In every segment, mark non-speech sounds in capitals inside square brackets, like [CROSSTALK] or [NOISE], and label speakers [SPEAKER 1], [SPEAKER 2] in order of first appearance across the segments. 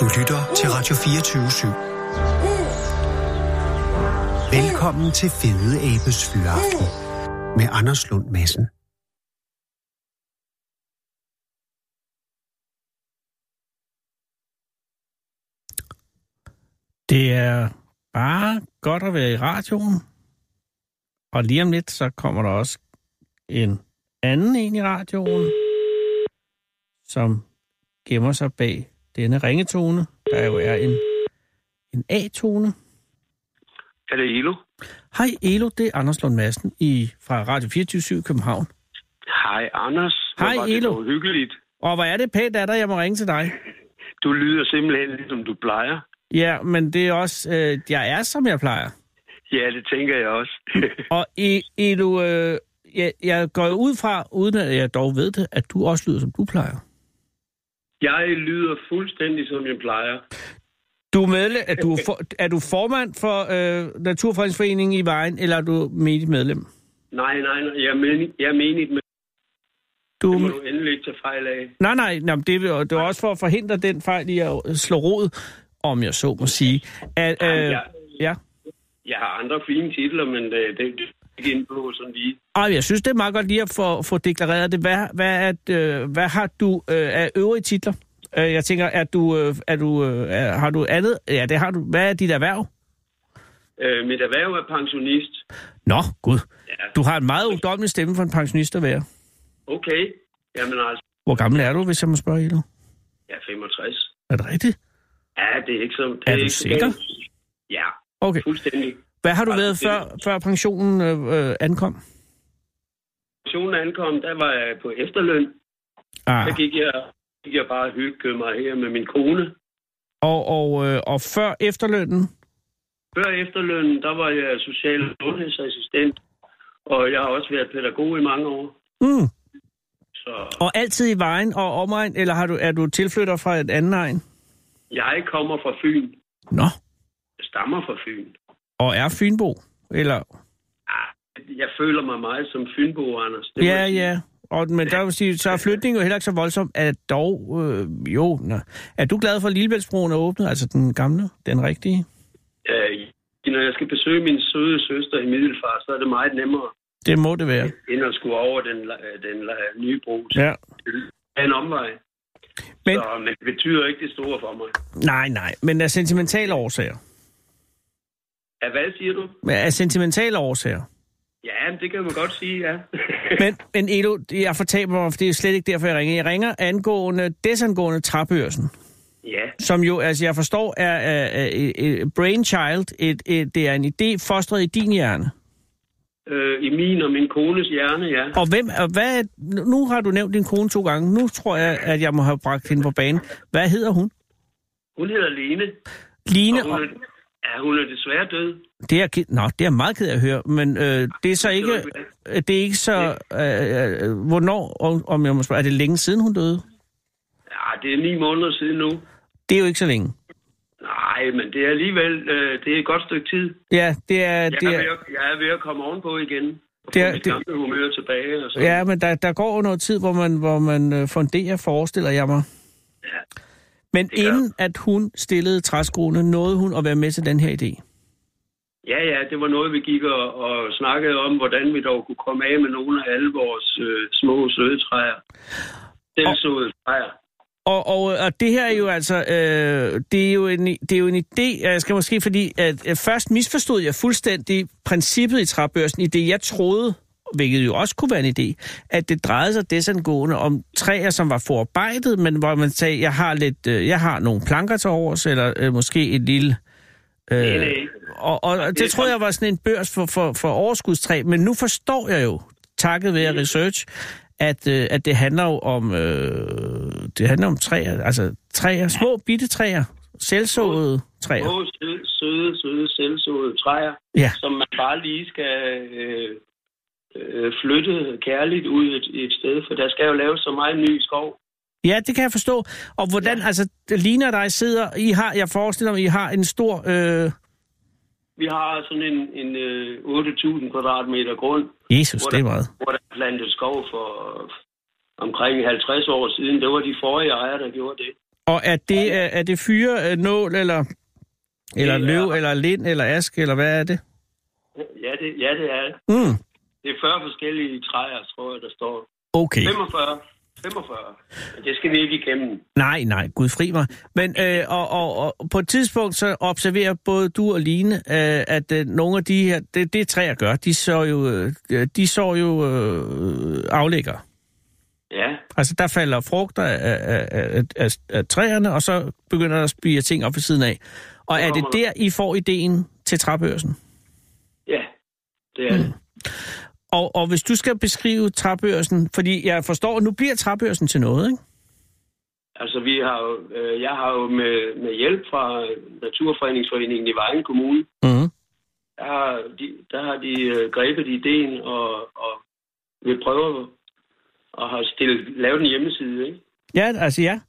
[SPEAKER 1] Du lytter til Radio 24 /7. Velkommen til Fede Abes Fyraften med Anders Lund Madsen.
[SPEAKER 2] Det er bare godt at være i radioen. Og lige om lidt, så kommer der også en anden en i radioen, som gemmer sig bag denne ringetone, der jo er en, en A-tone.
[SPEAKER 3] Er det Ilo?
[SPEAKER 2] Hej Elo, det er Anders Lund Madsen i, fra Radio 24 København.
[SPEAKER 3] Hej, Anders.
[SPEAKER 2] Hej,
[SPEAKER 3] Hvor var det
[SPEAKER 2] Ilo.
[SPEAKER 3] dog hyggeligt.
[SPEAKER 2] Og hvor er det pænt af dig, jeg må ringe til dig.
[SPEAKER 3] Du lyder simpelthen, ligesom du plejer.
[SPEAKER 2] Ja, men det er også, øh, jeg er, som jeg plejer.
[SPEAKER 3] Ja, det tænker jeg også. [LAUGHS]
[SPEAKER 2] Og E- Elo, øh, jeg, jeg går jo ud fra, uden at jeg dog ved det, at du også lyder, som du plejer.
[SPEAKER 3] jeg lyder fuldstændig, som jeg plejer.
[SPEAKER 2] Du er medlem, er du, for, er du formand for øh, Naturfredningsforeningen i Vejen, eller er du menigt medlem?
[SPEAKER 3] Nej, nej, nej. Jeg, men, jeg mener ikke, men det må
[SPEAKER 2] Du,
[SPEAKER 3] du endelig ikke tage fejl af.
[SPEAKER 2] nej, nej, nej men det, er jo- det er også for at forhindre den fejl i at slå rod, om jeg så må sige. At, øh,
[SPEAKER 3] jeg-
[SPEAKER 2] ja.
[SPEAKER 3] Jeg har andre fine titler, men øh, det, det, det er ikke inde på sådan lige.
[SPEAKER 2] Og jeg synes, det er meget godt lige at få, få deklareret det. Hvad, hvad, er, det, øh, hvad har du øh, af øvrige titler? Øh, jeg tænker, er du, øh, er du, øh, er, har du andet? Ja, det har du. Hvad er dit erhverv?
[SPEAKER 3] Øh, mit erhverv er pensionist.
[SPEAKER 2] Nå, gud.
[SPEAKER 3] Ja.
[SPEAKER 2] Du har en meget ungdommelig stemme for en pensionist at være.
[SPEAKER 3] Okay. Jamen altså,
[SPEAKER 2] Hvor gammel er du, hvis jeg må spørge, Elo?
[SPEAKER 3] jeg er 65.
[SPEAKER 2] Er det rigtigt?
[SPEAKER 3] Ja, det er ikke så... Det
[SPEAKER 2] Er du
[SPEAKER 3] ikke så
[SPEAKER 2] sikker?
[SPEAKER 3] galt. Ja,
[SPEAKER 2] Okay.
[SPEAKER 3] fuldstændig.
[SPEAKER 2] Hvad har du
[SPEAKER 3] Altså,
[SPEAKER 2] været
[SPEAKER 3] det-
[SPEAKER 2] før, før pensionen øh, øh, ankom?
[SPEAKER 3] Pensionen ankom, der var jeg på efterløn.
[SPEAKER 2] Ah,
[SPEAKER 3] Der gik jeg, gik jeg bare og hyggede mig her med min kone.
[SPEAKER 2] og, og, øh, og før efterlønnen?
[SPEAKER 3] Før efterlønnen, der var jeg social- og sundhedsassistent, og jeg har også været pædagog i mange år.
[SPEAKER 2] Mm.
[SPEAKER 3] Så
[SPEAKER 2] Og altid i vejen og omegn, eller har du, er du tilflytter fra et andet egen?
[SPEAKER 3] jeg kommer fra Fyn.
[SPEAKER 2] Nå,
[SPEAKER 3] Jeg stammer fra Fyn. Ah,
[SPEAKER 2] og er Fynbo? Eller?
[SPEAKER 3] Jeg føler mig meget som Fynbo, Anders. Det må
[SPEAKER 2] Ja,
[SPEAKER 3] jeg sige.
[SPEAKER 2] ja. Og, men der vil sige, så er flytningen jo heller ikke så voldsom, at dog, øh, jo, nå. er du glad for, at Lillebæltsbroen er åbnet, altså den gamle, den rigtige?
[SPEAKER 3] Øh, Når jeg skal besøge min søde søster i Middelfart, så er det meget nemmere,
[SPEAKER 2] Det må det være.
[SPEAKER 3] end at skulle over den, la- øh, den la- nye bro. Ja.
[SPEAKER 2] Ja.
[SPEAKER 3] En omvej.
[SPEAKER 2] Men-
[SPEAKER 3] Men... Så, men det betyder ikke det store for mig.
[SPEAKER 2] Nej, nej, men af sentimentale årsager.
[SPEAKER 3] Ja, hvad siger du?
[SPEAKER 2] Men Af sentimentale årsager.
[SPEAKER 3] Ja, men det kan man godt sige, ja. [LAUGHS]
[SPEAKER 2] Men, men Elo, jeg fortaber mig, for det er slet ikke derfor, jeg ringer. Jeg ringer angående, desangående Trapørsen,
[SPEAKER 3] ja.
[SPEAKER 2] som jo, altså jeg forstår, er, er, er, er, er brainchild. Et, et, det er en idé fostret i din hjerne.
[SPEAKER 3] øh, i min og min kones hjerne, ja.
[SPEAKER 2] Og hvem, og hvad, er- nu- nu har du nævnt din kone to gange. Nu tror jeg, at jeg må have bragt hende på banen. Hvad hedder hun?
[SPEAKER 3] Hun hedder Lene,
[SPEAKER 2] Line,
[SPEAKER 3] og hun er, ja, hun er desværre død.
[SPEAKER 2] det er, jeg- nå, det er jeg meget ked af at høre, men øh, det er så ikke,
[SPEAKER 3] Det var-
[SPEAKER 2] øh, det er ikke så, øh, øh, hvornår, om- om jeg må spørge, er det længe siden hun døde?
[SPEAKER 3] Ja, det er ni måneder siden nu.
[SPEAKER 2] Det er jo ikke så længe.
[SPEAKER 3] Nej, men det er alligevel øh, det er et godt stykke tid.
[SPEAKER 2] Ja, det er,
[SPEAKER 3] Jeg,
[SPEAKER 2] det
[SPEAKER 3] er,
[SPEAKER 2] er,
[SPEAKER 3] ved at, jeg er ved at komme ovenpå igen. Og
[SPEAKER 2] Det
[SPEAKER 3] det
[SPEAKER 2] er-
[SPEAKER 3] er, mit
[SPEAKER 2] det-
[SPEAKER 3] gamle humør tilbage. Og så.
[SPEAKER 2] Ja, men der, der går jo noget tid, hvor man, hvor man øh, funderer, forestiller jeg mig. Men
[SPEAKER 3] gør
[SPEAKER 2] inden at hun stillede træskoene, nåede hun at være med til den her idé.
[SPEAKER 3] ja, ja, det var noget, vi gik og, og snakkede om, hvordan vi dog kunne komme af med nogle af alle vores øh, små søde træer. Selvsåede træer.
[SPEAKER 2] Og, og, øh, og det her er jo altså, øh, det, er jo en, det er jo en idé, og jeg skal måske, fordi at, øh, først misforstod jeg fuldstændig princippet i træbørsen, i det jeg troede, hvilket jo også kunne være en idé, at det drejede sig desangående om træer, som var forarbejdet, men hvor man sagde, jeg har, lidt, øh, jeg har nogle planker til overs, eller øh, måske et lille...
[SPEAKER 3] Øh, øh,
[SPEAKER 2] Og, og det,
[SPEAKER 3] Det er
[SPEAKER 2] det troede
[SPEAKER 3] sådan-
[SPEAKER 2] jeg var sådan en børs for, for, for overskudstræ, men nu forstår jeg jo, takket være research, at, øh, at det handler jo om, øh, det handler om træer, altså træer, små bitte træer, selvsåede træer.
[SPEAKER 3] små, søde, søde, søde selvsåede træer.
[SPEAKER 2] Ja,
[SPEAKER 3] som man bare lige skal øh, øh, flytte kærligt ud et, et sted, for der skal jo laves så meget ny skov.
[SPEAKER 2] ja det kan jeg forstå. Og hvordan, ja. altså, det ligner dig sidder, I har, jeg forestiller mig, I har en stor, øh,
[SPEAKER 3] Vi har sådan en, en øh, 8.000 kvadratmeter grund,
[SPEAKER 2] Jesus,
[SPEAKER 3] Hvor
[SPEAKER 2] det er
[SPEAKER 3] der-
[SPEAKER 2] meget.
[SPEAKER 3] hvor der er plantet skov for omkring 50 år siden. Det var de forrige ejere, der gjorde det.
[SPEAKER 2] Og er det, er, er det fyre, øh, nål, eller, eller
[SPEAKER 3] Det er-
[SPEAKER 2] løv, eller lind, eller ask, eller hvad er det?
[SPEAKER 3] Ja, det, ja, det er det.
[SPEAKER 2] Mm.
[SPEAKER 3] Det er 40 forskellige træer, tror jeg, der står.
[SPEAKER 2] Okay.
[SPEAKER 3] 45. 45. Men det skal vi ikke igennem.
[SPEAKER 2] Nej, nej, Gud fri mig. Men øh, og, og, og, på et tidspunkt så observerer både du og Line, øh, at øh, nogle af de her, det, det træer gør, de så jo, øh, de så jo øh, aflægger.
[SPEAKER 3] Ja,
[SPEAKER 2] Altså der falder frugter af, af, af, af, af træerne, og så begynder der at spire ting op ved siden af. Og er det der, I får ideen til træbørsen?
[SPEAKER 3] ja. Det er det.
[SPEAKER 2] Og, og hvis du skal beskrive træbørsen, fordi jeg forstår, at nu bliver træbørsen til noget, ikke?
[SPEAKER 3] Altså, vi har jo, øh, jeg har jo med, med hjælp fra Naturfredningsforeningen i Vejen Kommune,
[SPEAKER 2] Mm.
[SPEAKER 3] der har de, der har de øh, grebet ideen og, og vil prøve og har stillet, lavet en hjemmeside, ikke?
[SPEAKER 2] Ja, altså ja.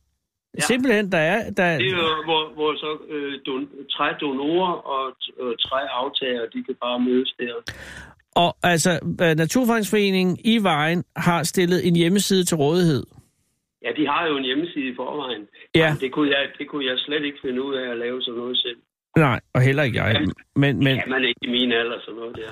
[SPEAKER 3] Ja.
[SPEAKER 2] Simpelthen, der er... Der,
[SPEAKER 3] Det er jo, hvor, hvor så øh, don, trædonorer og øh, træaftager, de kan bare mødes der.
[SPEAKER 2] Og altså, øh, Naturfredningsforeningen i Vejen har stillet en hjemmeside til rådighed.
[SPEAKER 3] Ja, de har jo en hjemmeside i forvejen.
[SPEAKER 2] Ja.
[SPEAKER 3] Jamen, Det kunne, jeg, det kunne jeg slet ikke finde ud af at lave sådan noget selv.
[SPEAKER 2] Nej, og heller ikke jeg. Men, men
[SPEAKER 3] Kan man ikke i min alder sådan noget der.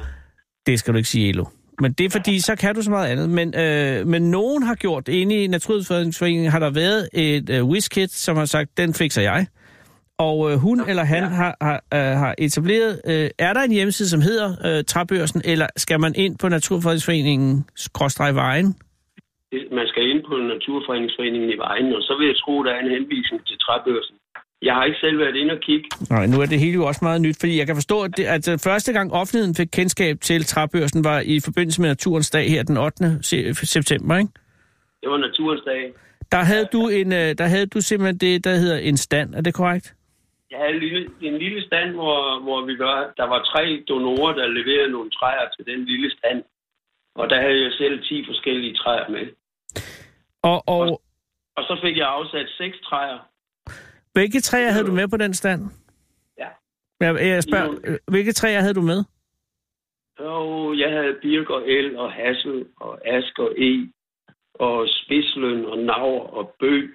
[SPEAKER 2] det skal du ikke sige, Elo. Men det er fordi, så kan du så meget andet. Men, øh, men nogen har gjort, inde i Naturfredningsforeningen har der været et øh, whiskit, som har sagt, den fikser jeg. Og øh, hun eller han
[SPEAKER 3] ja.
[SPEAKER 2] har, har, øh, har etableret, øh, er der en hjemmeside, som hedder øh, Træbørsen, eller skal man ind på Naturfredningsforeningen, skråstreg vejen?
[SPEAKER 3] Det- Man skal ind på Naturfredningsforeningen i Vejen, og så vil jeg tro, der er en henvisning til træbørsen. Jeg har ikke selv været inde og kigge.
[SPEAKER 2] Nej, nu er det hele jo også meget nyt, fordi jeg kan forstå, at, det, at øh, første gang offentligheden fik kendskab til træbørsen var i forbindelse med Naturens Dag her den 8. se- september, ikke?
[SPEAKER 3] Det var naturens dag.
[SPEAKER 2] Der havde du, en, øh, der havde du simpelthen det, der hedder en stand, er det korrekt?
[SPEAKER 3] Jeg havde en lille, en lille stand, hvor, hvor vi var, der var tre donorer, der leverede nogle træer til den lille stand. Og der havde jeg selv 10 forskellige træer med.
[SPEAKER 2] Og, og
[SPEAKER 3] Og så fik jeg afsat seks træer.
[SPEAKER 2] hvilke træer havde du med på den stand?
[SPEAKER 3] Ja.
[SPEAKER 2] Jeg, jeg spørger, øh, hvilke træer havde du med?
[SPEAKER 3] Og jeg havde Birk og El og Hassel og Ask og E og Spidsløn og Naur og Bø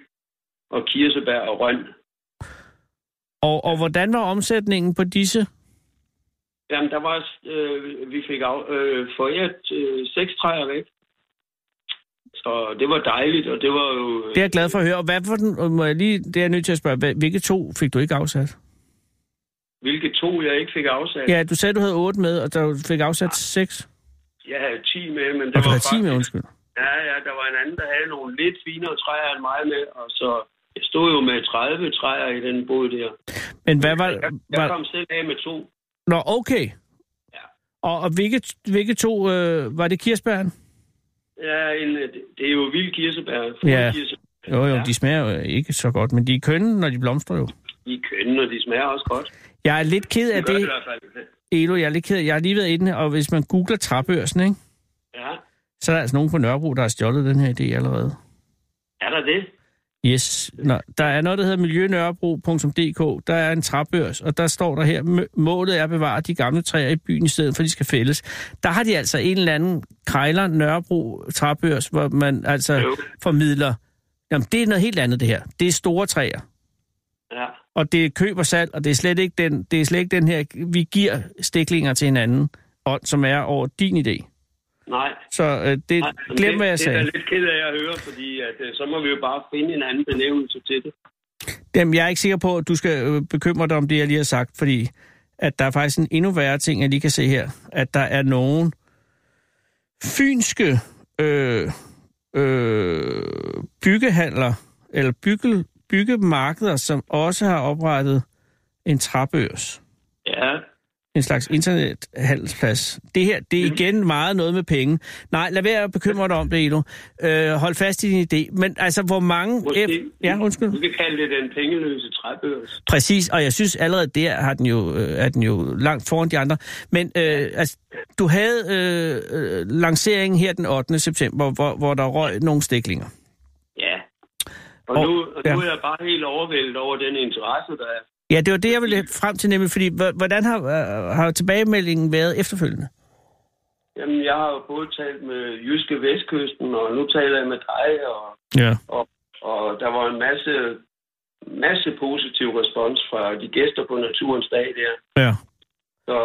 [SPEAKER 3] og Kirsebær og Røn.
[SPEAKER 2] Og, og hvordan var omsætningen på disse?
[SPEAKER 3] Jamen, der var, øh, vi fik af, øh, foræret øh, seks træer væk. Så det var dejligt, og det var jo... Øh,
[SPEAKER 2] Det er jeg glad for at høre. Og hvad for den, og må jeg lige, det er jeg nødt til at spørge, hvad- hvilke to fik du ikke afsat?
[SPEAKER 3] Hvilke to, jeg ikke fik afsat.
[SPEAKER 2] Ja, du sagde, du havde otte med, og der fik afsat seks.
[SPEAKER 3] Jeg havde 10 med, men det
[SPEAKER 2] Og du
[SPEAKER 3] var
[SPEAKER 2] havde ti
[SPEAKER 3] faktisk...
[SPEAKER 2] med, undskyld.
[SPEAKER 3] Ja, ja, der var en anden, der havde nogle lidt finere træer end mig med, og så... Jeg stod jo med 30 træer i den båd der.
[SPEAKER 2] Men hvad var...
[SPEAKER 3] Jeg,
[SPEAKER 2] var...
[SPEAKER 3] jeg kom selv af med to.
[SPEAKER 2] Nå, okay.
[SPEAKER 3] Ja.
[SPEAKER 2] Og, og hvilke, hvilke to... Øh, var det kirsebæren?
[SPEAKER 3] Ja, en, øh, det- det er jo vild kirsebær.
[SPEAKER 2] Ja.
[SPEAKER 3] Ja. Kirsebær.
[SPEAKER 2] Jo, jo,
[SPEAKER 3] Ja.
[SPEAKER 2] ja. de smager jo ikke så godt, men de er kønne, når de blomstrer jo.
[SPEAKER 3] De er kønne, og de smager også godt.
[SPEAKER 2] Jeg er lidt ked
[SPEAKER 3] Ja,
[SPEAKER 2] af
[SPEAKER 3] det... I
[SPEAKER 2] det,
[SPEAKER 3] hvert fald.
[SPEAKER 2] Elo. Jeg er lidt ked af, Jeg har lige været inde, og hvis man googler træbørsen, ikke?
[SPEAKER 3] Ja.
[SPEAKER 2] Så er der altså nogen på Nørrebro, der har stjålet den her idé allerede.
[SPEAKER 3] Er der det?
[SPEAKER 2] Yes. Nå, der er noget, der hedder miljønørrebro.dk. Der er en træbørs, og der står der her, "Mø- målet er at bevare de gamle træer i byen i stedet for, at de skal fældes. Der har de altså en eller anden krejler Nørrebro træbørs, hvor man altså
[SPEAKER 3] Jo.
[SPEAKER 2] formidler. Jamen, det er noget helt andet, det her. Det er store træer,
[SPEAKER 3] Ja.
[SPEAKER 2] og det er køb og salg, og det er slet ikke den, det er slet ikke den her, vi giver stiklinger til hinanden, og, som er over din idé.
[SPEAKER 3] Nej.
[SPEAKER 2] Så øh, det,
[SPEAKER 3] Nej, men
[SPEAKER 2] glem,
[SPEAKER 3] det,
[SPEAKER 2] hvad jeg
[SPEAKER 3] Det
[SPEAKER 2] sagde.
[SPEAKER 3] er jeg lidt ked af at høre, fordi at, øh, så må vi jo bare finde en anden benævnelse til det.
[SPEAKER 2] Jamen, jeg er ikke sikker på, at du skal øh, bekymre dig om det, jeg lige har sagt, fordi at der er faktisk en endnu værre ting, jeg lige kan se her, at der er nogen fynske øh, øh, byggehandler, eller bygge, byggemarkeder, som også har oprettet en træbørs.
[SPEAKER 3] Ja.
[SPEAKER 2] En slags internethandelsplads. Det her, det er igen meget noget med penge. Nej, lad være at bekymre dig om det, Elo. Øh, hold fast i din idé. Men altså, hvor mange...
[SPEAKER 3] Måske,
[SPEAKER 2] ja, undskyld.
[SPEAKER 3] Vi kan kalde det den pengeløse træbørs.
[SPEAKER 2] Præcis, og jeg synes allerede der har den jo, øh, er den jo langt foran de andre. Men øh, altså, du havde øh, øh, lanceringen her den 8. september, hvor, hvor der røg nogle stiklinger.
[SPEAKER 3] Ja. Og,
[SPEAKER 2] Og-
[SPEAKER 3] og, nu, og
[SPEAKER 2] ja.
[SPEAKER 3] nu er jeg bare helt overvældet over den interesse, der er.
[SPEAKER 2] Ja, det var det, jeg ville frem til nemlig, fordi hvor- hvordan har, øh, har tilbagemeldingen været efterfølgende?
[SPEAKER 3] Jamen, jeg har jo både talt med Jyske Vestkysten, og nu taler jeg med dig, og
[SPEAKER 2] Ja.
[SPEAKER 3] Og der var en masse masse positiv respons fra de gæster på Naturens Dag der.
[SPEAKER 2] Ja.
[SPEAKER 3] Så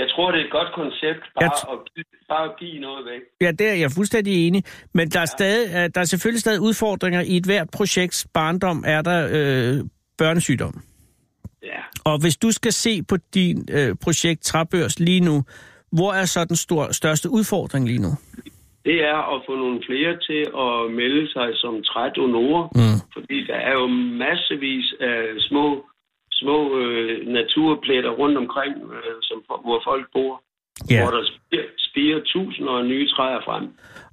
[SPEAKER 3] jeg tror, det er et godt koncept bare,
[SPEAKER 2] Jeg t-
[SPEAKER 3] at, give, bare at give noget væk.
[SPEAKER 2] Ja, der er jeg fuldstændig enig. Men der er, stadig, øh, der er selvfølgelig stadig udfordringer i et hvert projekts barndom, er der øh, børnesygdom.
[SPEAKER 3] Ja.
[SPEAKER 2] Og hvis du skal se på din øh, projekt Træbørs lige nu, hvor er så den stor, største udfordring lige nu?
[SPEAKER 3] Det er at få nogle flere til at melde sig som trædonorer,
[SPEAKER 2] Mm.
[SPEAKER 3] fordi der er jo massevis af små, små øh, naturpletter rundt omkring, øh, som, hvor folk bor, ja. hvor der spiger, spiger tusinder af nye træer frem.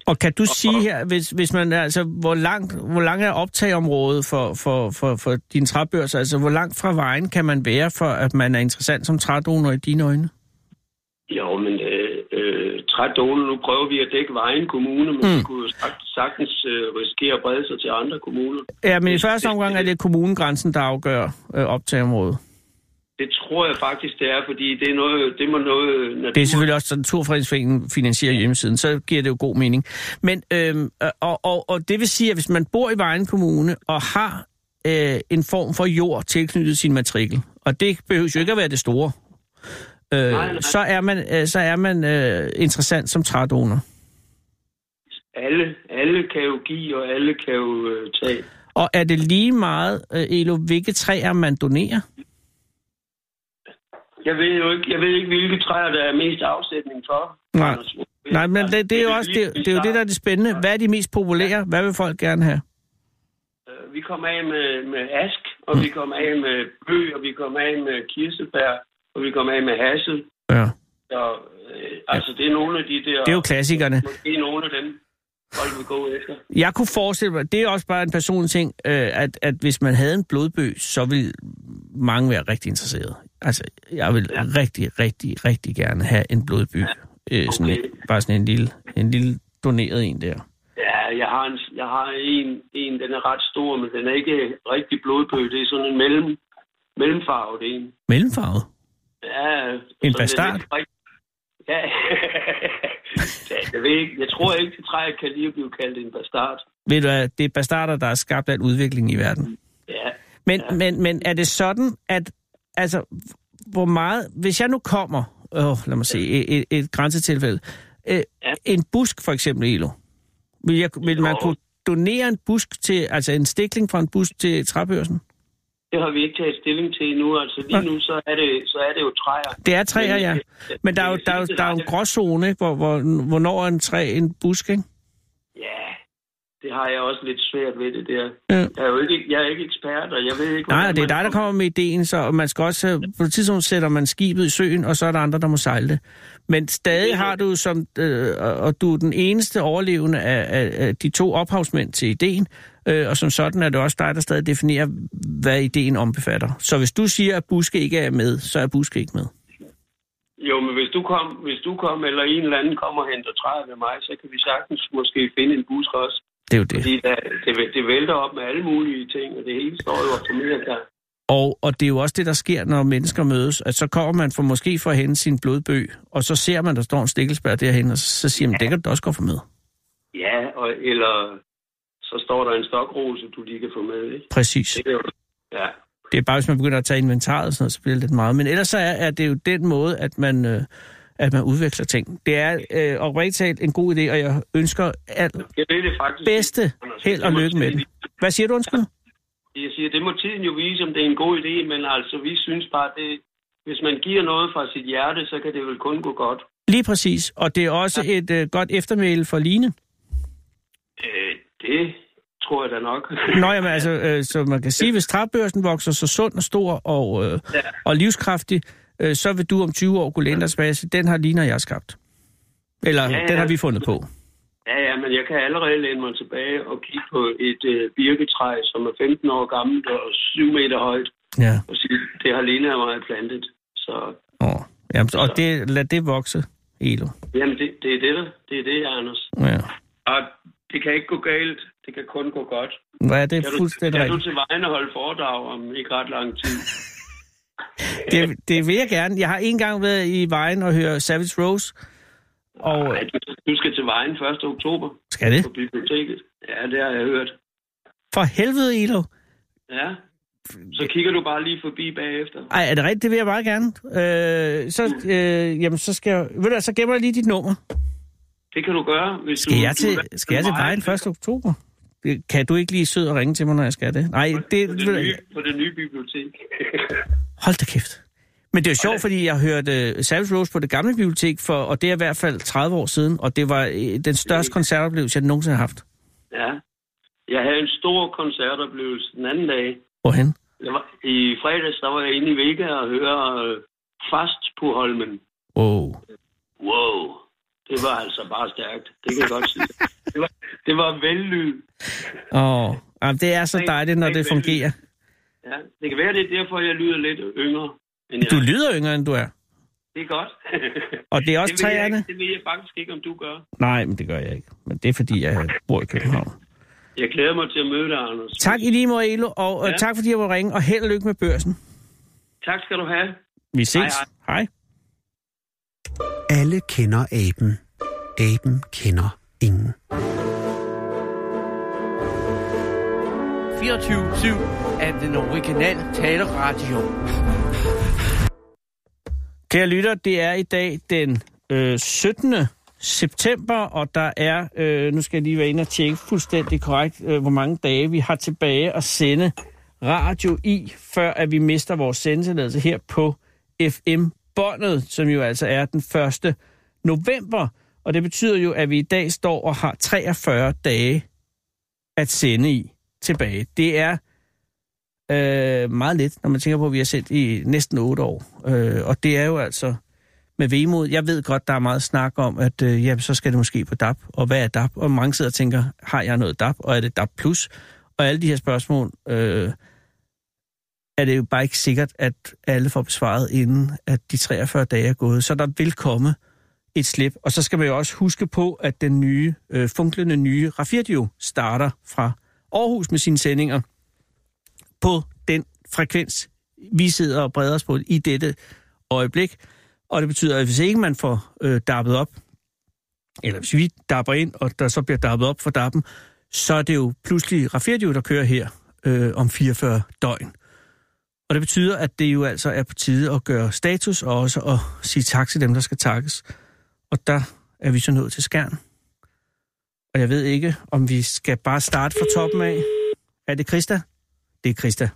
[SPEAKER 2] Og kan du sige her, hvis, hvis man, altså, hvor, langt, hvor langt er optagområdet for, for, for, for din træbørs? Altså, hvor langt fra vejen kan man være, for at man er interessant som trædonor i dine øjne?
[SPEAKER 3] Jo, men øh, øh, trædoner, nu prøver vi at dække vejen kommune, men mm. vi kunne jo sagt- sagtens øh, risikere at brede sig til andre kommuner.
[SPEAKER 2] Ja, men i
[SPEAKER 3] Det-
[SPEAKER 2] første
[SPEAKER 3] det-
[SPEAKER 2] omgang er
[SPEAKER 3] det-
[SPEAKER 2] det kommunegrænsen, der afgør øh, optagområdet.
[SPEAKER 3] Det tror jeg faktisk, det er, fordi det, er noget, det må noget... Natur...
[SPEAKER 2] Det er selvfølgelig også, at Naturfredningsforeningen finansierer hjemmesiden, så giver det jo god mening. Men, øhm, og, og, og det vil sige, at hvis man bor i Vejen Kommune og har øh, en form for jord tilknyttet sin matrikel, og det behøver jo ikke at være det store, øh,
[SPEAKER 3] Nej, nej.
[SPEAKER 2] så er man, øh, så er man øh, interessant som trædonor.
[SPEAKER 3] Alle, alle kan jo give, og alle kan jo øh, tage.
[SPEAKER 2] Og er det lige meget, øh, Elo, hvilke træer man donerer?
[SPEAKER 3] Jeg ved jo ikke, jeg ved ikke hvilke træer, der er mest afsætning for.
[SPEAKER 2] Nej.
[SPEAKER 3] Anders.
[SPEAKER 2] Nej, men det, det er jo også det, det, er jo det, der er det spændende. Hvad er de mest populære? Hvad vil folk gerne have?
[SPEAKER 3] Øh, Vi kom af med, med ask,
[SPEAKER 2] Mm.
[SPEAKER 3] og vi kom af med bøg, og vi kom af med kirsebær, og vi kom af med hassel.
[SPEAKER 2] Ja.
[SPEAKER 3] Så, øh, altså, det er nogle af de der...
[SPEAKER 2] Det er jo klassikerne.
[SPEAKER 3] Måske nogle af dem, folk vil gå efter.
[SPEAKER 2] Jeg kunne forestille mig, det er også bare en personlig ting, øh, at, at hvis man havde en blodbøg, så ville mange være rigtig interesserede. Altså, jeg vil ja. rigtig, rigtig, rigtig gerne have en blodbøg. Ja. Øh, sådan
[SPEAKER 3] okay.
[SPEAKER 2] en, bare sådan en lille, en lille doneret en der.
[SPEAKER 3] Ja, jeg har, en, jeg har en, en, den er ret stor, men den er ikke rigtig blodbøg. Det er sådan en mellem, mellemfarvet en.
[SPEAKER 2] Mellemfarvet.
[SPEAKER 3] Ja,
[SPEAKER 2] En
[SPEAKER 3] så den
[SPEAKER 2] bastard?
[SPEAKER 3] er ikke rigtig- Ja, [LAUGHS] ja jeg, ved ikke. jeg tror ikke, det træ kan lige blive kaldt en bastard.
[SPEAKER 2] Ved du hvad, det er bastarder, der har skabt al udvikling i verden.
[SPEAKER 3] Ja,
[SPEAKER 2] Men, ja. men, men er det sådan, at altså, hvor meget, hvis jeg nu kommer, åh, lad mig se, et, et, et grænsetilfælde, øh,
[SPEAKER 3] Ja.
[SPEAKER 2] en busk for eksempel, Elo, vil, jeg, vil man
[SPEAKER 3] Jo.
[SPEAKER 2] kunne donere en busk til, altså en stikling fra en busk til træbørsen?
[SPEAKER 3] det har vi ikke taget stilling til endnu. Altså lige nu, så er det, så er det jo træer.
[SPEAKER 2] Det er træer,
[SPEAKER 3] Men-
[SPEAKER 2] ja. Men der er jo, der er jo, der er jo en gråzone, ikke? Hvor, hvor, hvornår er en træ en busk, ikke?
[SPEAKER 3] Ja, det har jeg også lidt svært ved det der.
[SPEAKER 2] Ja.
[SPEAKER 3] Jeg er jo ikke, jeg er ikke ekspert, og jeg ved ikke...
[SPEAKER 2] Nej,
[SPEAKER 3] hvordan
[SPEAKER 2] og det er
[SPEAKER 3] man
[SPEAKER 2] dig, der kommer med ideen, så og man skal også, øh, på et tidspunkt sætter man skibet i søen, og så er der andre, der må sejle det. Men stadig har du som, øh, og- og du er den eneste overlevende af, af, af de to ophavsmænd til ideen, øh, og som sådan er det også dig, der stadig definerer, hvad ideen ombefatter. Så hvis du siger, at buske ikke er med, så er buske ikke med.
[SPEAKER 3] Jo, men hvis du, kom, hvis du kom, eller en eller anden kommer og henter træer ved mig, så kan vi sagtens måske finde en bus også.
[SPEAKER 2] Det er jo det.
[SPEAKER 3] Fordi der, det, det vælter op med alle mulige ting, og det hele står jo op til middag.
[SPEAKER 2] Og, og det er jo også det, der sker, når mennesker mødes, at så kommer man for måske for at hente sin blodbøg, og så ser man, der står en stikkelsbær derhen, og så, så siger man, det kan du da også godt få med.
[SPEAKER 3] Ja, og, eller så står der en stokrose, du lige kan få med, ikke?
[SPEAKER 2] Præcis.
[SPEAKER 3] Det er jo- Ja.
[SPEAKER 2] Det er bare, hvis man begynder at tage inventaret og sådan noget, så bliver det lidt meget. Men ellers så er, er det jo den måde, at man, øh, at man udvikler ting. Det er øh, oprigtigt talt en god idé, og jeg ønsker alt
[SPEAKER 3] Jeg ved det faktisk.
[SPEAKER 2] bedste held og lykke med den. Hvad siger du, undskyld?
[SPEAKER 3] Jeg siger, det må tiden jo vise, om det er en god idé, men altså, vi synes bare, det, hvis man giver noget fra sit hjerte, så kan det vel kun gå godt.
[SPEAKER 2] Lige præcis. Og det er også et øh, godt eftermæle for Line.
[SPEAKER 3] Øh, det tror jeg da nok. [LAUGHS]
[SPEAKER 2] Nå, jamen, altså, øh, så man kan sige, hvis træbørsen vokser så sund og stor og, øh,
[SPEAKER 3] Ja.
[SPEAKER 2] og livskraftig, øh, så vil du om 20 år kunne læne dig tilbage og sige, den har Line og jeg skabt. Eller, ja,
[SPEAKER 3] Ja,
[SPEAKER 2] ja.
[SPEAKER 3] ja.
[SPEAKER 2] den har vi fundet på.
[SPEAKER 3] Ja, ja, men jeg kan allerede læne mig tilbage og kigge på et øh, birketræ, som er 15 år gammelt og 7 meter højt,
[SPEAKER 2] Ja.
[SPEAKER 3] og sige, det har Lena og mig plantet. Så
[SPEAKER 2] Åh. Jamen, og det, lad det vokse, Elo.
[SPEAKER 3] jamen, det, det er det, der. det er det, Anders.
[SPEAKER 2] Ja.
[SPEAKER 3] Og det kan ikke gå galt, det kan kun gå godt.
[SPEAKER 2] Ja, det
[SPEAKER 3] Kan
[SPEAKER 2] er
[SPEAKER 3] du,
[SPEAKER 2] fuldstændig
[SPEAKER 3] kan du
[SPEAKER 2] rigtigt.
[SPEAKER 3] til vejen og holde foredrag om ikke ret lang tid?
[SPEAKER 2] Det, det vil jeg gerne. Jeg har en gang været i vejen og høre Savage Rose. Og
[SPEAKER 3] Nej, du, du skal til vejen 1. oktober
[SPEAKER 2] skal det?
[SPEAKER 3] på biblioteket. Ja, det har jeg hørt.
[SPEAKER 2] For helvede, Elo.
[SPEAKER 3] Ja. Så kigger du bare lige forbi bagefter.
[SPEAKER 2] Ej, er det rigtigt? Det vil jeg meget gerne. Øh, så, øh, jamen, så skal jeg... Ved du, hvad, så gemmer jeg lige dit nummer.
[SPEAKER 3] Det kan du gøre, hvis
[SPEAKER 2] Skal
[SPEAKER 3] du...
[SPEAKER 2] jeg til,
[SPEAKER 3] du-
[SPEAKER 2] skal jeg til Vejen 1. oktober? Det- Kan du ikke lige sød og ringe til mig, når jeg skal det? Nej, det...
[SPEAKER 3] På
[SPEAKER 2] ved
[SPEAKER 3] det
[SPEAKER 2] du-
[SPEAKER 3] nye, på det nye bibliotek.
[SPEAKER 2] Hold da kæft. Men det er jo sjovt, fordi jeg hørte øh, Savage Rose på det gamle bibliotek, for, og det er i hvert fald 30 år siden, og det var øh, den største koncertoplevelse, jeg nogensinde har haft.
[SPEAKER 3] ja. Jeg havde en stor koncertoplevelse den anden dag.
[SPEAKER 2] Hvorhen?
[SPEAKER 3] Jeg var, I fredags, der var jeg inde i Vega og høre øh, Fast på Holmen.
[SPEAKER 2] Wow.
[SPEAKER 3] Wow. Det var altså bare stærkt. Det kan jeg godt sige. Det var, det var vellyd.
[SPEAKER 2] Åh, jamen, det er så
[SPEAKER 3] Ring-
[SPEAKER 2] dejligt, når
[SPEAKER 3] ring
[SPEAKER 2] det
[SPEAKER 3] vældig.
[SPEAKER 2] fungerer.
[SPEAKER 3] Ja, det kan være, det er derfor, jeg lyder lidt yngre. End jeg.
[SPEAKER 2] Du lyder yngre, end du er.
[SPEAKER 3] Det er
[SPEAKER 2] [LAUGHS]
[SPEAKER 3] godt.
[SPEAKER 2] Og det er også
[SPEAKER 3] det, ved jeg,
[SPEAKER 2] træerne.
[SPEAKER 3] ikke- det ved jeg faktisk ikke, om du gør.
[SPEAKER 2] Nej, men det gør jeg ikke. Men det er, fordi jeg bor i København.
[SPEAKER 3] Jeg glæder mig til at møde dig, Anders.
[SPEAKER 2] Tak i lige måde, Elo, og ja.
[SPEAKER 3] Ja.
[SPEAKER 2] tak fordi jeg må ringe, og held og lykke med børsen.
[SPEAKER 3] Tak skal du have.
[SPEAKER 2] Vi ses.
[SPEAKER 3] Hej,
[SPEAKER 2] hej. hej.
[SPEAKER 1] Alle kender aben. Aben kender
[SPEAKER 4] 24-7
[SPEAKER 1] ingen.
[SPEAKER 4] af den originale taleradio.
[SPEAKER 2] Kære lytter, det er i dag den øh, 17. september, og der er, øh, nu skal jeg lige være inde og tjekke fuldstændig korrekt, øh, hvor mange dage vi har tilbage at sende radio i, før at vi mister vores sendetilladelse her på FM-båndet, som jo altså er den 1. november. Og det betyder jo, at vi i dag står og har 43 dage at sende i tilbage. Det er øh, meget lidt, når man tænker på, at vi har sendt i næsten otte år. Øh, og det er jo altså med vemod. Jeg ved godt, der er meget snak om, at øh, jamen, så skal det måske på DAP, og hvad er DAP? Og mange sidder og tænker, har jeg noget DAP, og er det DAP+, plus? og alle de her spørgsmål, øh, er det jo bare ikke sikkert, at alle får besvaret, inden at de 43 dage er gået. Så der vil komme et slip, og så skal man jo også huske på, at den nye, øh, funklende nye Rafirdio starter fra Aarhus med sine sendinger på den frekvens, vi sidder og breder os på i dette øjeblik. Og det betyder, at hvis ikke man får øh, dappet op, eller hvis vi dapper ind, og der så bliver dappet op for dappen, så er det jo pludselig Rafferdio, der kører her øh, om 44 døgn. Og det betyder, at det jo altså er på tide at gøre status, og også at sige tak til dem, der skal takkes. Og der er vi så nået til skærn. Og jeg ved ikke, om vi skal bare starte fra toppen af. Er det Krista? Det er Krista.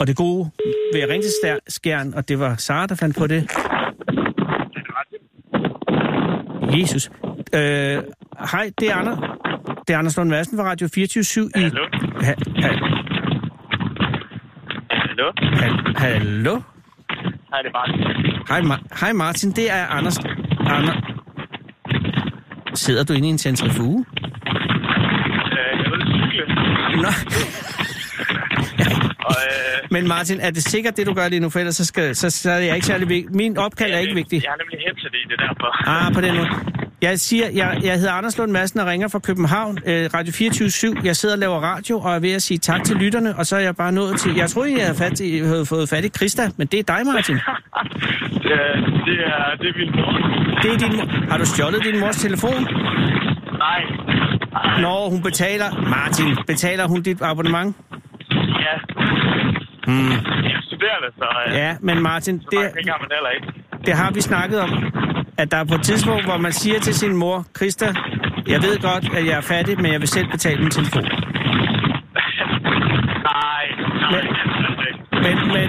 [SPEAKER 2] Og det gode ved at ringe til Stær- Skjern, og det var Sara, der fandt på det. Jesus. Øh, hej, det er Anders. Det er Anders Lund Madsen fra Radio 24 i...
[SPEAKER 5] Hallo?
[SPEAKER 2] Ha- ha-
[SPEAKER 5] Hallo?
[SPEAKER 2] ha- hallo?
[SPEAKER 5] Hej, det er Martin.
[SPEAKER 2] Hej, Ma- hej Martin, det er Anders. Ander. Sidder du inde i en centrifuge?
[SPEAKER 5] Øh, jeg vil cykle,
[SPEAKER 2] Nå,
[SPEAKER 5] og øh,
[SPEAKER 2] men Martin, er [LAUGHS] det sikkert, det du gør lige nu, for ellers så, skal, så, så er jeg ikke særlig vigtig. Min opkald er ikke vigtig.
[SPEAKER 5] øh, jeg har nemlig headset i, det er derfor.
[SPEAKER 2] Ah, på den måde. Jeg siger, jeg, jeg hedder Anders Lund Madsen og ringer fra København, øh, Radio 24 Jeg sidder og laver radio og er ved at sige tak til lytterne, og så er jeg bare nået til... Jeg troede, jeg havde, fat, i- havde fået fat i Krista, men det er dig, Martin.
[SPEAKER 5] Øh, det er, det er min mor.
[SPEAKER 2] Det er din mor. Har du stjålet din mors telefon?
[SPEAKER 5] Nej.
[SPEAKER 2] Når hun betaler... Martin, betaler hun dit abonnement?
[SPEAKER 5] Ja. Mm. Jeg er studerende, så, øh, ja,
[SPEAKER 2] Hmm. Ja, men Martin,
[SPEAKER 5] det...
[SPEAKER 2] det,
[SPEAKER 5] mange har man heller ikke.
[SPEAKER 2] det har vi snakket om. At der er på et tidspunkt, hvor man siger til sin mor, Krista, jeg ved godt, at jeg er fattig, men jeg vil selv betale min telefon.
[SPEAKER 5] Nej, nej,
[SPEAKER 2] Men-
[SPEAKER 5] altså ikke.
[SPEAKER 2] Men, men, men...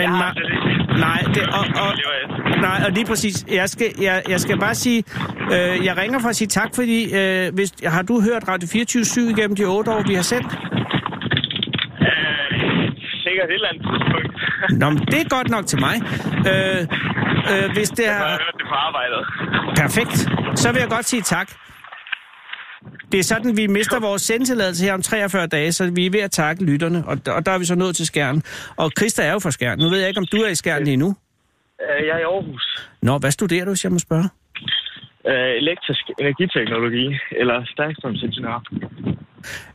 [SPEAKER 5] Jeg har
[SPEAKER 2] Ma-
[SPEAKER 5] slet ikke-
[SPEAKER 2] nej, det, og, og,
[SPEAKER 5] Det var jeg.
[SPEAKER 2] nej, og lige præcis. Jeg skal, jeg, jeg skal bare sige, øh, jeg ringer for at sige tak, fordi øh, hvis, har du hørt Radio 24 igennem de otte år, vi har sendt?
[SPEAKER 5] Øh, sikkert et eller andet tidspunkt. [LAUGHS]
[SPEAKER 2] Nå, men det er godt nok til mig. Øh, øh, hvis det
[SPEAKER 5] Jeg
[SPEAKER 2] er...
[SPEAKER 5] har hørt det på arbejdet.
[SPEAKER 2] Perfekt. Så vil jeg godt sige tak. Det er sådan, vi mister vores sendtilladelse her om 43 dage, så vi er ved at takke lytterne, og, og der er vi så nået til skærmen. Og Christa er jo fra skærmen. Nu ved jeg ikke, om du er i skærmen lige nu.
[SPEAKER 5] Øh, jeg er i Aarhus.
[SPEAKER 2] Nå, hvad studerer du, hvis jeg må spørge?
[SPEAKER 5] Øh, elektrisk energiteknologi, eller stærkstrømsingeniør.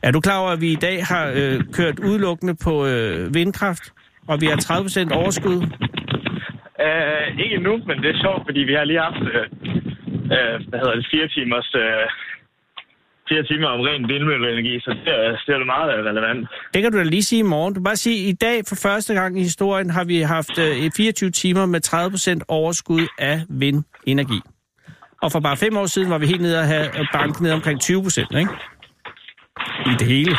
[SPEAKER 2] Er du klar over, at vi i dag har øh, kørt udelukkende på øh, vindkraft, og vi har 30% overskud?
[SPEAKER 5] Øh, ikke nu, men det er sjovt, fordi vi har lige haft, øh, øh, hvad hedder det, fire timers øh, flere timer om ren vindmølleenergi, så det er, det er meget relevant.
[SPEAKER 2] Det kan du da lige sige i morgen. Du kan bare sige, at i dag for første gang i historien har vi haft øh, 24 timer med 30% overskud af vindenergi. Og for bare fem år siden var vi helt nede og have banken ned omkring 20%, ikke? I det hele.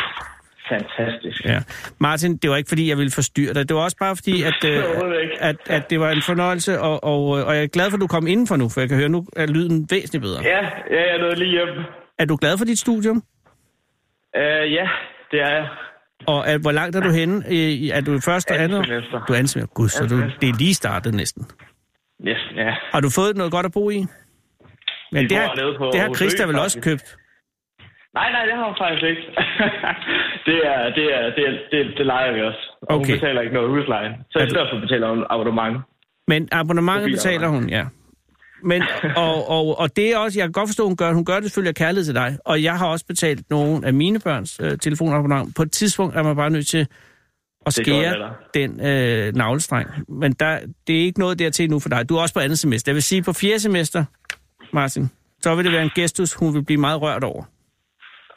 [SPEAKER 5] Fantastisk.
[SPEAKER 2] Ja. Martin, det var ikke fordi, jeg ville forstyrre dig. Det var også bare fordi, at, øh,
[SPEAKER 5] Overhovedet ikke.
[SPEAKER 2] at, at det var en fornøjelse, og, og, øh, og jeg er glad for, at du kom indenfor nu, for jeg kan høre, nu er lyden væsentligt bedre.
[SPEAKER 5] Ja, ja jeg nåede lige hjem.
[SPEAKER 2] Er du glad for dit studium?
[SPEAKER 5] Uh, ja, det er jeg.
[SPEAKER 2] Og er, hvor langt er du henne? Øh, Er du i første og
[SPEAKER 5] Andet
[SPEAKER 2] andet?
[SPEAKER 5] semester.
[SPEAKER 2] Du er ansvar. Gud, så du, det er lige startet næsten.
[SPEAKER 5] Yes, ja.
[SPEAKER 2] Har du fået noget godt at bo i? Men
[SPEAKER 5] Vi
[SPEAKER 2] det
[SPEAKER 5] bor
[SPEAKER 2] har,
[SPEAKER 5] nede på
[SPEAKER 2] det har
[SPEAKER 5] Aarhus
[SPEAKER 2] Christa
[SPEAKER 5] Ø,
[SPEAKER 2] vel også
[SPEAKER 5] faktisk.
[SPEAKER 2] købt.
[SPEAKER 5] Nej, nej, det har hun faktisk ikke. [LAUGHS] det, er, det, er, det, er, det, det leger vi også. Og
[SPEAKER 2] Okay.
[SPEAKER 5] hun betaler ikke noget husleje. Så i stedet for betaler hun abonnement.
[SPEAKER 2] Men abonnementet
[SPEAKER 5] Mobilabonnement.
[SPEAKER 2] betaler hun, ja.
[SPEAKER 5] [LAUGHS]
[SPEAKER 2] Men, og, og, og det er også, jeg kan godt forstå, hun gør det. Hun gør det selvfølgelig af kærlighed til dig. Og jeg har også betalt nogle af mine børns øh, telefonabonnement. På et tidspunkt er man bare nødt til at
[SPEAKER 5] Det gjorde
[SPEAKER 2] skære
[SPEAKER 5] jeg
[SPEAKER 2] den øh, navlestreng. Men der, det er ikke noget dertil nu for dig. Du er også på andet semester. Jeg vil sige, på fjerde semester, Martin, så vil det være en gestus, hun vil blive meget rørt over.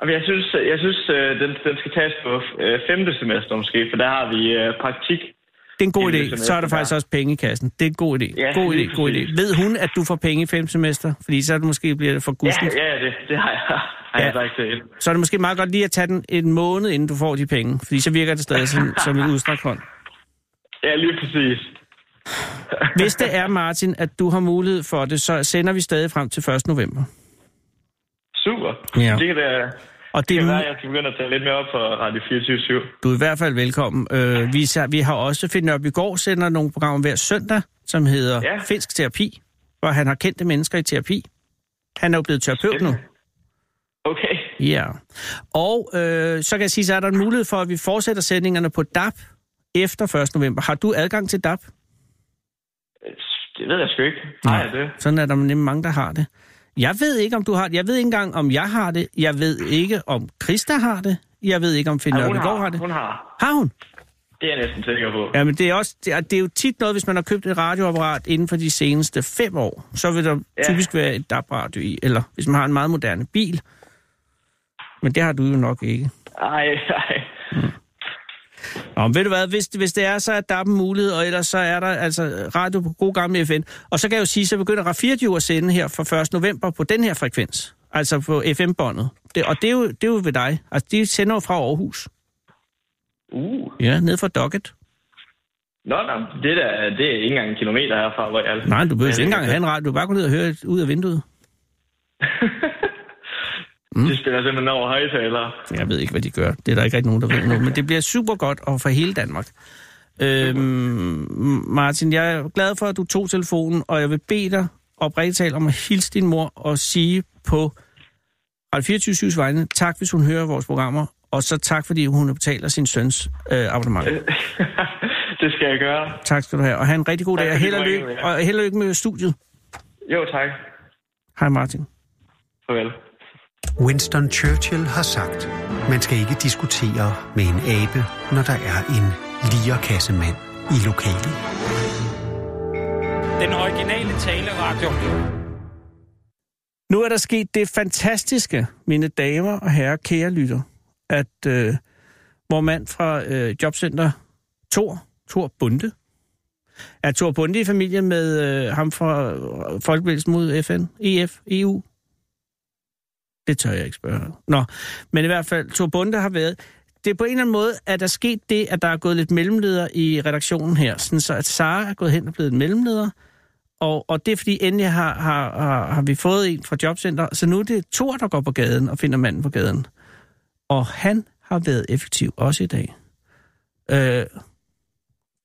[SPEAKER 5] Jamen, Jeg synes, jeg synes øh, den, den skal tages på øh, femte semester måske, for der har vi øh, praktik.
[SPEAKER 2] Det er en god
[SPEAKER 5] Jamen,
[SPEAKER 2] idé.
[SPEAKER 5] det er
[SPEAKER 2] Så er der
[SPEAKER 5] sådan,
[SPEAKER 2] faktisk
[SPEAKER 5] ja.
[SPEAKER 2] også penge i kassen. Det er en god idé.
[SPEAKER 5] Ja,
[SPEAKER 2] god
[SPEAKER 5] lige
[SPEAKER 2] idé, god idé.
[SPEAKER 5] præcis.
[SPEAKER 2] Ved hun, at du får penge i fem semester? Fordi så er det måske bliver det for
[SPEAKER 5] Ja,
[SPEAKER 2] gudsligt.
[SPEAKER 5] ja det, det har jeg, [LAUGHS] har jeg
[SPEAKER 2] Ja.
[SPEAKER 5] sagt til hende.
[SPEAKER 2] Så er det måske meget godt lige at tage den en måned, inden du får de penge. Fordi så virker det stadig som, som en udstrakt hånd.
[SPEAKER 5] Ja, lige præcis.
[SPEAKER 2] Hvis det er, Martin, at du har mulighed for det, så sender vi stadig frem til 1. november.
[SPEAKER 5] Super.
[SPEAKER 2] Ja.
[SPEAKER 5] Det kan da...
[SPEAKER 2] Og
[SPEAKER 5] Det
[SPEAKER 2] det
[SPEAKER 5] kan
[SPEAKER 2] er,
[SPEAKER 5] være, at jeg skal begynde at tage lidt mere op for Radio 24
[SPEAKER 2] du er i hvert fald velkommen. Øh, vi, ser- vi har også Finn Nørby Gård sender nogle programmer hver søndag, som hedder ja.
[SPEAKER 5] Ja.
[SPEAKER 2] Finsk Terapi, hvor han har kendte mennesker i terapi. Han er jo blevet terapeut nu.
[SPEAKER 5] Okay.
[SPEAKER 2] Ja. Og øh, så kan jeg sige, så er der en mulighed for, at vi fortsætter sendingerne på DAP efter 1. november. Har du adgang til DAP?
[SPEAKER 5] Det ved jeg sgu ikke. Nej, det.
[SPEAKER 2] Sådan er der nemlig mange, der har det. Jeg ved ikke, om du har det. Jeg ved ikke engang, om jeg har det. Jeg ved ikke, om Krista har det. Jeg ved ikke, om Finn
[SPEAKER 5] Ja,
[SPEAKER 2] ja,
[SPEAKER 5] hun,
[SPEAKER 2] har,
[SPEAKER 5] har,
[SPEAKER 2] har det.
[SPEAKER 5] hun har.
[SPEAKER 2] Har hun?
[SPEAKER 5] Det er jeg næsten sikker på.
[SPEAKER 2] Jamen, det er, også, det, er, det er jo tit noget, hvis man har købt et radioapparat inden for de seneste fem år, så vil der ja.
[SPEAKER 5] Ja.
[SPEAKER 2] typisk være et DAB-radio i, eller hvis man har en meget moderne bil. Men det har du jo nok ikke.
[SPEAKER 5] Ej, ej.
[SPEAKER 2] Nå, men ved du hvad, hvis, hvis det er, så er der en mulighed, og ellers så er der altså radio på god gamle FN. Og så kan jeg jo sige, så begynder Rafirdi jo at sende her fra 1. november på den her frekvens, altså på FM-båndet. Det, og det er, jo, det er jo ved dig. Altså, de sender jo fra Aarhus.
[SPEAKER 5] Uh.
[SPEAKER 2] Ja, ned fra Docket.
[SPEAKER 5] Nå, nå, det, der, det er ikke engang en kilometer herfra, hvor jeg er.
[SPEAKER 2] Nej, du behøver ikke
[SPEAKER 5] Ja,
[SPEAKER 2] engang
[SPEAKER 5] det-
[SPEAKER 2] have en radio. Du kan bare gå ned og høre ud af vinduet. Mm.
[SPEAKER 5] De spiller simpelthen over højtalere.
[SPEAKER 2] Jeg ved ikke, hvad de gør. Det er der ikke rigtig nogen, der ved nu. Men det bliver super godt og for hele Danmark. Øhm, Martin, jeg er glad for, at du tog telefonen, og jeg vil bede dig oprigtigt talt om at hilse din mor og sige på Radio 24 vegne, tak hvis hun hører vores programmer, og så tak fordi hun betaler sin søns øh, abonnement.
[SPEAKER 5] det skal jeg gøre.
[SPEAKER 2] Tak skal du have, og have en rigtig god
[SPEAKER 5] Tak
[SPEAKER 2] dag, og
[SPEAKER 5] fordi
[SPEAKER 2] held og
[SPEAKER 5] du
[SPEAKER 2] lykke,
[SPEAKER 5] ringede,
[SPEAKER 2] og held og lykke med studiet.
[SPEAKER 5] Jo, tak.
[SPEAKER 2] Hej Martin.
[SPEAKER 5] Farvel.
[SPEAKER 1] Winston Churchill har sagt, man skal ikke diskutere med en abe, når der er en lierkassemand i lokalet.
[SPEAKER 6] Den originale taleradio.
[SPEAKER 2] Nu er der sket det fantastiske, mine damer og herrer, kære lytter, at øh, vor mand fra øh, Jobcenter Tor, Tor Bunde, er Tor Bunde i familie med øh, ham fra øh, Folkebevægelsen mod E FN, EF, EU? Det tør jeg ikke spørge. Nå, men i hvert fald, Tor Bunde har været... Det er på en eller anden måde, at der er sket det, at der er gået lidt mellemleder i redaktionen her, sådan så at Sara er gået hen og blevet en mellemleder, og, og det er fordi, endelig har, har, har, har vi fået en fra Jobcenter, så nu er det Thor, der går på gaden og finder manden på gaden. Og han har været effektiv også i dag. Øh, ja,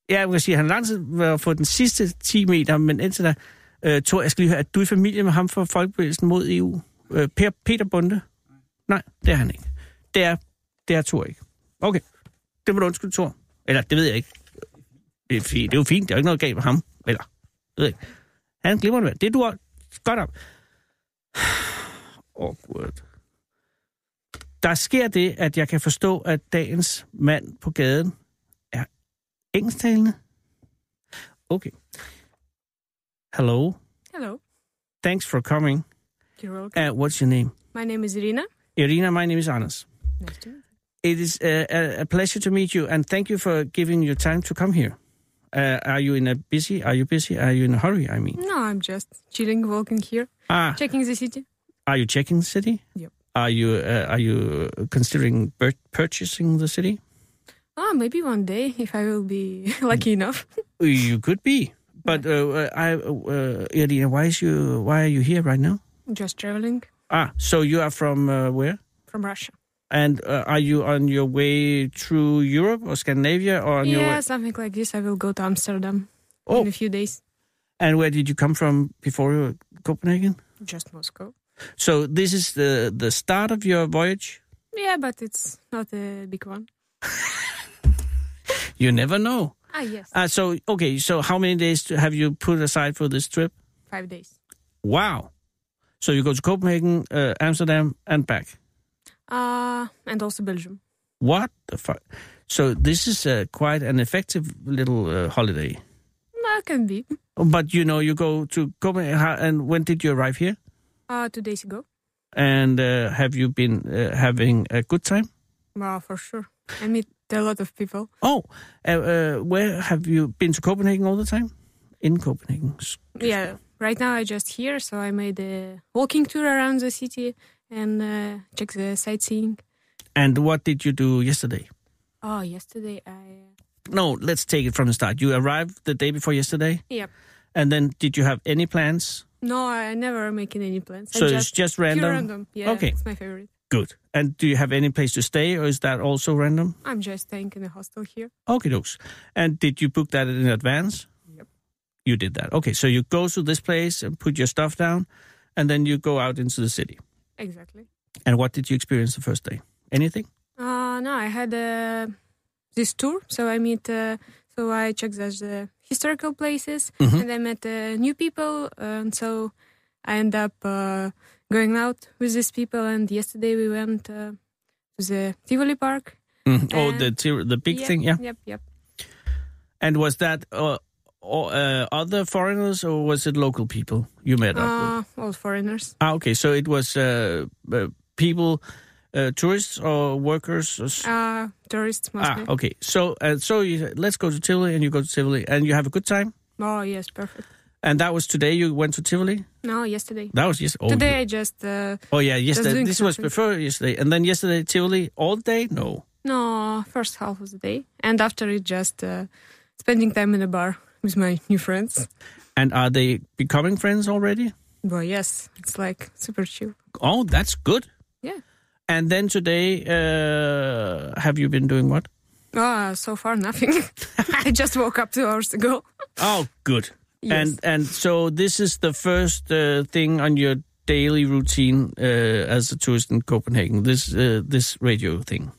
[SPEAKER 2] jeg kan sige, at han har lang tid været for den sidste 10 meter, men indtil da, øh, Thor, jeg skal lige høre, at du er i familie med ham fra Folkebevægelsen mod EU? Øh, per, Peter Bunde? Nej, det er han ikke. Det er, det er Thor ikke. Okay, det må du undskylde, Thor. Eller, det ved jeg ikke. Det er, fi- det er jo fint, der er jo ikke noget galt med ham. Eller, jeg ved ikke. Han er en glimrende mand. Det er du også. Godt op. Awkward. Der sker det, at jeg kan forstå, at dagens mand på gaden er engelsktalende. Okay. Hello.
[SPEAKER 7] Hello,
[SPEAKER 2] Thanks for coming.
[SPEAKER 7] you're welcome.
[SPEAKER 2] Uh, what's your name?
[SPEAKER 7] My name is Irina.
[SPEAKER 2] Irina, my name is Anders.
[SPEAKER 7] Nice to meet you.
[SPEAKER 2] It is a, a, a pleasure to meet you, and thank you for giving your time to come here. Uh, are you in a busy? Are you busy? Are you in a hurry? I mean,
[SPEAKER 7] No, I'm just chilling, walking here,
[SPEAKER 2] ah,
[SPEAKER 7] checking the city.
[SPEAKER 2] are you checking the city?
[SPEAKER 7] Yep.
[SPEAKER 2] Are you uh, are you considering bur- purchasing the city?
[SPEAKER 7] Ah, maybe one day if I will be [LAUGHS] lucky enough.
[SPEAKER 2] You could be, but uh, I, uh, Irina, why is you why are you here right now?
[SPEAKER 7] Just traveling
[SPEAKER 2] Ah, so you are from uh, where?
[SPEAKER 7] from Russia.
[SPEAKER 2] And uh, are you on your way through Europe or Scandinavia or on your
[SPEAKER 7] yeah,
[SPEAKER 2] way?
[SPEAKER 7] something like this. I will go to Amsterdam in
[SPEAKER 2] Oh,
[SPEAKER 7] a few days.
[SPEAKER 2] and where did you come from before you were Copenhagen?
[SPEAKER 7] Just Moscow.
[SPEAKER 2] So this is the the start of your voyage.
[SPEAKER 7] Yeah, but it's not a big one.
[SPEAKER 2] You never know.
[SPEAKER 7] Ah, yes,
[SPEAKER 2] Uh, so okay, so how many days to- have you put aside for this trip?
[SPEAKER 7] five days.
[SPEAKER 2] Wow. So you go to Copenhagen, uh, Amsterdam, and back.
[SPEAKER 7] Uh, and also Belgium.
[SPEAKER 2] What the fuck? So this is uh, quite an effective little uh, holiday.
[SPEAKER 7] Well, can be.
[SPEAKER 2] But you know, you go to Copenhagen, how- and when did you arrive here?
[SPEAKER 7] Uh, two days ago.
[SPEAKER 2] And uh, have you been uh, having a good time?
[SPEAKER 7] Well, for sure. I meet a lot of people.
[SPEAKER 2] Oh, uh, uh, where have you been to Copenhagen all the time? In Copenhagen. S-
[SPEAKER 7] Yeah, right now I just here, so I made a walking tour around the city and uh, check the sightseeing.
[SPEAKER 2] And what did you do yesterday?
[SPEAKER 7] Oh, yesterday I. uh,
[SPEAKER 2] No, let's take it from the start. You arrived the day before yesterday,
[SPEAKER 7] Yep.
[SPEAKER 2] and then did you have any plans?
[SPEAKER 7] No, I never making any plans.
[SPEAKER 2] So
[SPEAKER 7] I
[SPEAKER 2] it's just random?
[SPEAKER 7] Pure random. Yeah,
[SPEAKER 2] Okay.
[SPEAKER 7] it's my favorite.
[SPEAKER 2] Good. And do you have any place to stay, or is that also random?
[SPEAKER 7] I'm just staying in a hostel here.
[SPEAKER 2] Okay, dokes. And did you book that in advance?
[SPEAKER 7] Yep.
[SPEAKER 2] You did that. Okay, so you go to this place and put your stuff down, and then you go out into the city.
[SPEAKER 7] Exactly.
[SPEAKER 2] And what did you experience the first day? Anything?
[SPEAKER 7] Uh, no, I had uh, this tour, so I meet, uh, so I checked the, the historical places,
[SPEAKER 2] Mhm.
[SPEAKER 7] and I met uh, new people, and so I end up uh, going out with these people. And yesterday we went uh, to the Tivoli Park.
[SPEAKER 2] oh,
[SPEAKER 7] Uh,
[SPEAKER 2] the ter- the big
[SPEAKER 7] Yep,
[SPEAKER 2] thing, yeah.
[SPEAKER 7] Yep, yep.
[SPEAKER 2] And was that uh, o- uh, other foreigners or was it local people you met up with?
[SPEAKER 7] Uh, all foreigners.
[SPEAKER 2] Ah, okay, so it was uh, uh, people, uh, tourists or workers. Or s-
[SPEAKER 7] Uh, tourists
[SPEAKER 2] ah,
[SPEAKER 7] mostly.
[SPEAKER 2] okay. So uh, so you, let's go to Tivoli, and you go to Tivoli, and you have a good time.
[SPEAKER 7] Oh yes, perfect.
[SPEAKER 2] And that was today. You went to Tivoli.
[SPEAKER 7] No, yesterday.
[SPEAKER 2] That was yesterday. Oh,
[SPEAKER 7] Today
[SPEAKER 2] you-
[SPEAKER 7] I just uh,
[SPEAKER 2] Oh yeah, yesterday.
[SPEAKER 7] doing
[SPEAKER 2] This was
[SPEAKER 7] something.
[SPEAKER 2] before yesterday, and then yesterday Tivoli all day. No.
[SPEAKER 7] no first half of the day, and after it just uh, spending time in a bar with my new friends.
[SPEAKER 2] And are they becoming friends already?
[SPEAKER 7] Well, yes, it's like super chill.
[SPEAKER 2] Oh, that's good.
[SPEAKER 7] Yeah.
[SPEAKER 2] And then today, uh, have you been doing what?
[SPEAKER 7] Ah, so far nothing. I just woke up two hours ago.
[SPEAKER 2] Oh, good.
[SPEAKER 7] Yes.
[SPEAKER 2] And and so this is the first uh, thing on your daily routine uh, as a tourist in Copenhagen. This uh, this radio thing.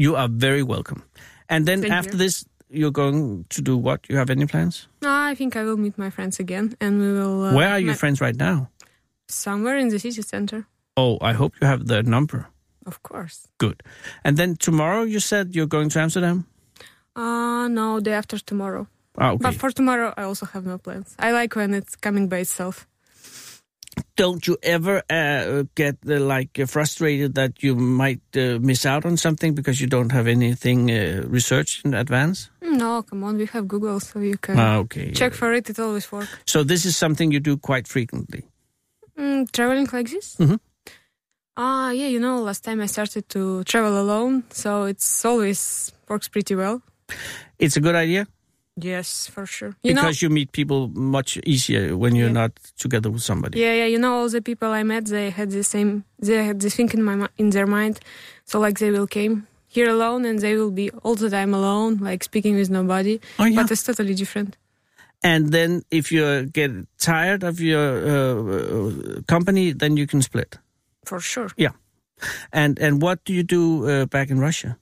[SPEAKER 2] You are very welcome. And then
[SPEAKER 7] Thank
[SPEAKER 2] after
[SPEAKER 7] you.
[SPEAKER 2] this, you're going to do what? You have any plans?
[SPEAKER 7] No, Ah, I think I will meet my friends again, and we will. Uh,
[SPEAKER 2] Where are your
[SPEAKER 7] met
[SPEAKER 2] friends right now?
[SPEAKER 7] Somewhere in the city center,
[SPEAKER 2] Oh, I hope you have the number.
[SPEAKER 7] of course.
[SPEAKER 2] Good. And then tomorrow you said you're going to Amsterdam?
[SPEAKER 7] Ah, no, day after tomorrow.
[SPEAKER 2] Ah, okay.
[SPEAKER 7] But for tomorrow, I also have no plans. I like when it's coming by itself.
[SPEAKER 2] Don't you ever uh, get uh, like uh, frustrated that you might uh, miss out on something because you don't have anything uh, researched in advance?
[SPEAKER 7] Mm, No, come on, we have Google, so you can
[SPEAKER 2] Ah, okay.
[SPEAKER 7] check for it. It always works.
[SPEAKER 2] So this is something you do quite frequently.
[SPEAKER 7] Mm, traveling like this?
[SPEAKER 2] Mhm.
[SPEAKER 7] Ah, yeah, you know, last time I started to travel alone, so it's always works pretty well.
[SPEAKER 2] It's a good idea
[SPEAKER 7] Yes, for sure. You
[SPEAKER 2] because you meet people much easier when you're
[SPEAKER 7] Yeah.
[SPEAKER 2] not together with somebody.
[SPEAKER 7] know, yeah, yeah, you know, all the people I met, they had the same, they had this thing in my mi- in their mind, so like they will came here alone and they will be all the time alone, like speaking with nobody.
[SPEAKER 2] Oh, yeah.
[SPEAKER 7] But it's totally different.
[SPEAKER 2] And then if you get tired of your uh, uh, company, then you can split.
[SPEAKER 7] For sure.
[SPEAKER 2] And and what do you do uh, back in Russia?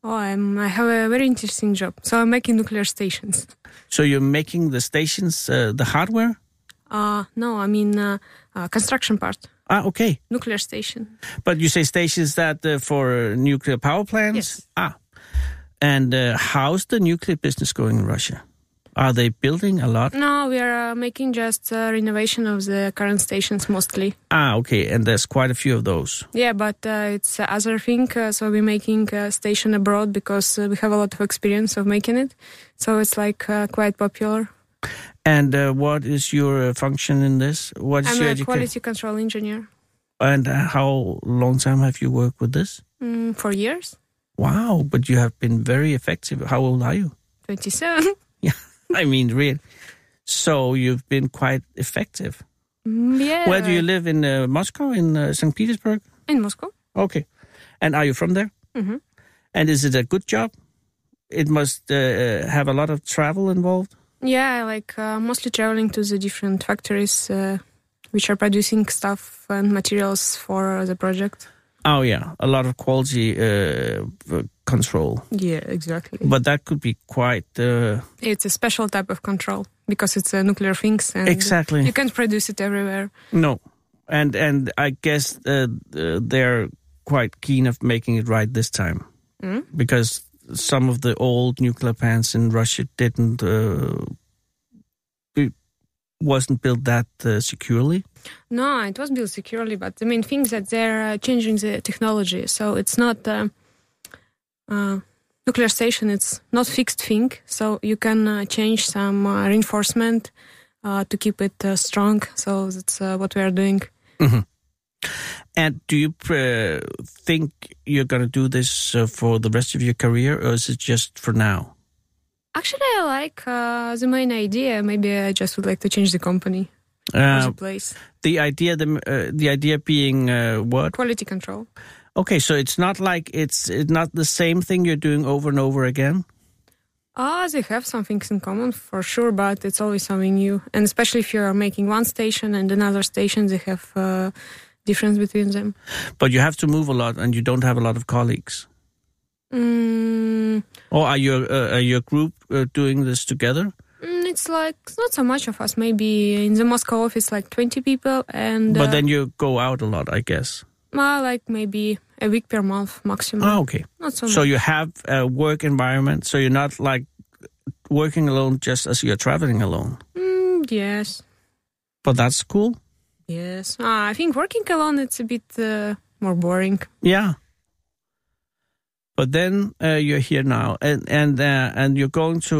[SPEAKER 7] Oh, I'm, I have a very interesting job. So I'm making nuclear stations.
[SPEAKER 2] So you're making the stations uh, the hardware?
[SPEAKER 7] Uh, no, I mean uh, uh, construction part,
[SPEAKER 2] Ah, okay.
[SPEAKER 7] nuclear station.
[SPEAKER 2] But you say stations that uh, for nuclear power plants?
[SPEAKER 7] Yes.
[SPEAKER 2] Ah. And uh, how's the nuclear business going in Russia? Are they building a lot?
[SPEAKER 7] No, we are uh, making just uh, renovation of the current stations mostly.
[SPEAKER 2] Ah, okay, and there's quite a few of those.
[SPEAKER 7] Yeah, but uh, it's uh, other thing. Uh, so we're making a station abroad because uh, we have a lot of experience of making it. So it's like uh, quite popular.
[SPEAKER 2] And uh, what is your uh, function in this? What is
[SPEAKER 7] I'm
[SPEAKER 2] your
[SPEAKER 7] a
[SPEAKER 2] education?
[SPEAKER 7] quality control engineer
[SPEAKER 2] And uh, how long time have you worked with this?
[SPEAKER 7] mm, for years.
[SPEAKER 2] Wow, but you have been very effective. How old are you? [LAUGHS]
[SPEAKER 7] 27.
[SPEAKER 2] I mean, real. So you've been quite effective.
[SPEAKER 7] [LAUGHS] Mm, yeah.
[SPEAKER 2] Where do you live in uh, Moscow, in uh, St. Petersburg?
[SPEAKER 7] In Moscow.
[SPEAKER 2] Okay. And are you from there?
[SPEAKER 7] Mhm.
[SPEAKER 2] And is it a good job? It must uh, have a lot of travel involved.
[SPEAKER 7] Yeah, like uh, mostly traveling to the different factories uh, which are producing stuff and materials for the project.
[SPEAKER 2] Oh yeah, a lot of quality uh, control.
[SPEAKER 7] Yeah, exactly.
[SPEAKER 2] But that could be quite uh,
[SPEAKER 7] It's a special type of control because it's a nuclear things and
[SPEAKER 2] exactly.
[SPEAKER 7] you can't produce it everywhere.
[SPEAKER 2] No, and and I guess uh, uh, they're quite keen of making it right this time
[SPEAKER 7] Mm.
[SPEAKER 2] because some of the old nuclear plants in Russia didn't uh, it wasn't built that uh, securely.
[SPEAKER 7] No, it was built securely, but the main thing is that they're uh, changing the technology, so it's not uh, uh, nuclear station. It's not fixed thing, so you can uh, change some uh, reinforcement uh, to keep it uh, strong. So that's uh, what we are doing.
[SPEAKER 2] And do you uh, think you're going to do this uh, for the rest of your career, or is it just for now?
[SPEAKER 7] Actually, I like uh, the main idea. Maybe I just would like to change the company or
[SPEAKER 2] Uh,
[SPEAKER 7] the place.
[SPEAKER 2] the idea, the uh, the idea being uh, what?
[SPEAKER 7] Quality control.
[SPEAKER 2] Okay, so it's not like it's, it's not the same thing you're doing over and over again.
[SPEAKER 7] Ah, they have some things in common for sure, but it's always something new. And especially if you are making one station and another station, they have uh, difference between them.
[SPEAKER 2] But you have to move a lot, and you don't have a lot of colleagues.
[SPEAKER 7] Mm,
[SPEAKER 2] Or are your uh, are your group uh, doing this together?
[SPEAKER 7] mm, it's like not so much of us. Maybe in the Moscow office, like twenty people, and
[SPEAKER 2] But
[SPEAKER 7] uh,
[SPEAKER 2] then you go out a lot, I guess.
[SPEAKER 7] uh, like maybe a week per month maximum.
[SPEAKER 2] Oh, okay.
[SPEAKER 7] Not so,
[SPEAKER 2] So
[SPEAKER 7] much.
[SPEAKER 2] you have a work environment, so you're not like working alone, just as you're traveling alone.
[SPEAKER 7] Mm, yes,
[SPEAKER 2] But that's cool.
[SPEAKER 7] yes. Ah, I think working alone it's a bit uh, more boring.
[SPEAKER 2] Yeah. But then uh, you're here now, and and uh, and you're going to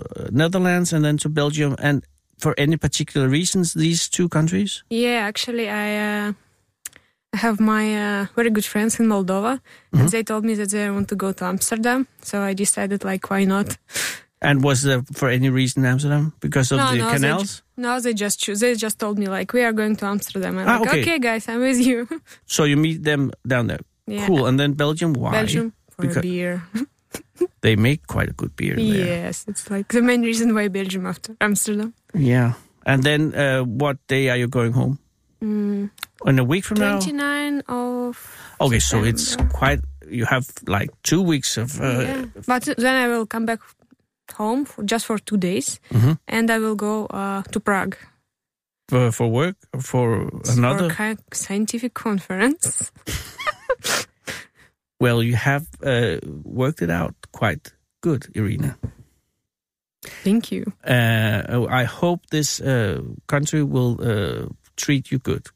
[SPEAKER 2] uh, Netherlands and then to Belgium, and for any particular reasons, these two countries.
[SPEAKER 7] Yeah, actually, I uh, have my uh, very good friends in Moldova,
[SPEAKER 2] Mm-hmm.
[SPEAKER 7] and they told me that they want to go to Amsterdam. So I decided, like, why not?
[SPEAKER 2] And was there for any reason Amsterdam because of
[SPEAKER 7] No,
[SPEAKER 2] the
[SPEAKER 7] no, they
[SPEAKER 2] canals?
[SPEAKER 7] No, they just choose. They just told me like, we are going to Amsterdam. I'm
[SPEAKER 2] Ah,
[SPEAKER 7] like,
[SPEAKER 2] okay.
[SPEAKER 7] okay. guys, I'm with you. [LAUGHS]
[SPEAKER 2] So you meet them down there.
[SPEAKER 7] yeah,
[SPEAKER 2] Cool. And then Belgium, why?
[SPEAKER 7] Belgium for
[SPEAKER 2] Because-
[SPEAKER 7] a
[SPEAKER 2] [LAUGHS]
[SPEAKER 7] beer.
[SPEAKER 2] They make quite a good beer there.
[SPEAKER 7] Yes, it's like the main reason why Belgium after Amsterdam.
[SPEAKER 2] Yeah. And then uh, what day are you going home?
[SPEAKER 7] Mm,
[SPEAKER 2] In a week from now?
[SPEAKER 7] 29 of
[SPEAKER 2] Okay, so it's
[SPEAKER 7] September.
[SPEAKER 2] quite, you have like two weeks of. Uh,
[SPEAKER 7] yeah. But then I will come back home for just for two days,
[SPEAKER 2] Mhm.
[SPEAKER 7] and I will go uh, to Prague.
[SPEAKER 2] for, for work, for
[SPEAKER 7] It's
[SPEAKER 2] another.
[SPEAKER 7] for ki- scientific
[SPEAKER 2] [LAUGHS]
[SPEAKER 7] conference.
[SPEAKER 2] Well, you have uh, worked it out quite good, Irina.
[SPEAKER 7] Thank you.
[SPEAKER 2] Uh, I hope this uh, country will uh, treat you good.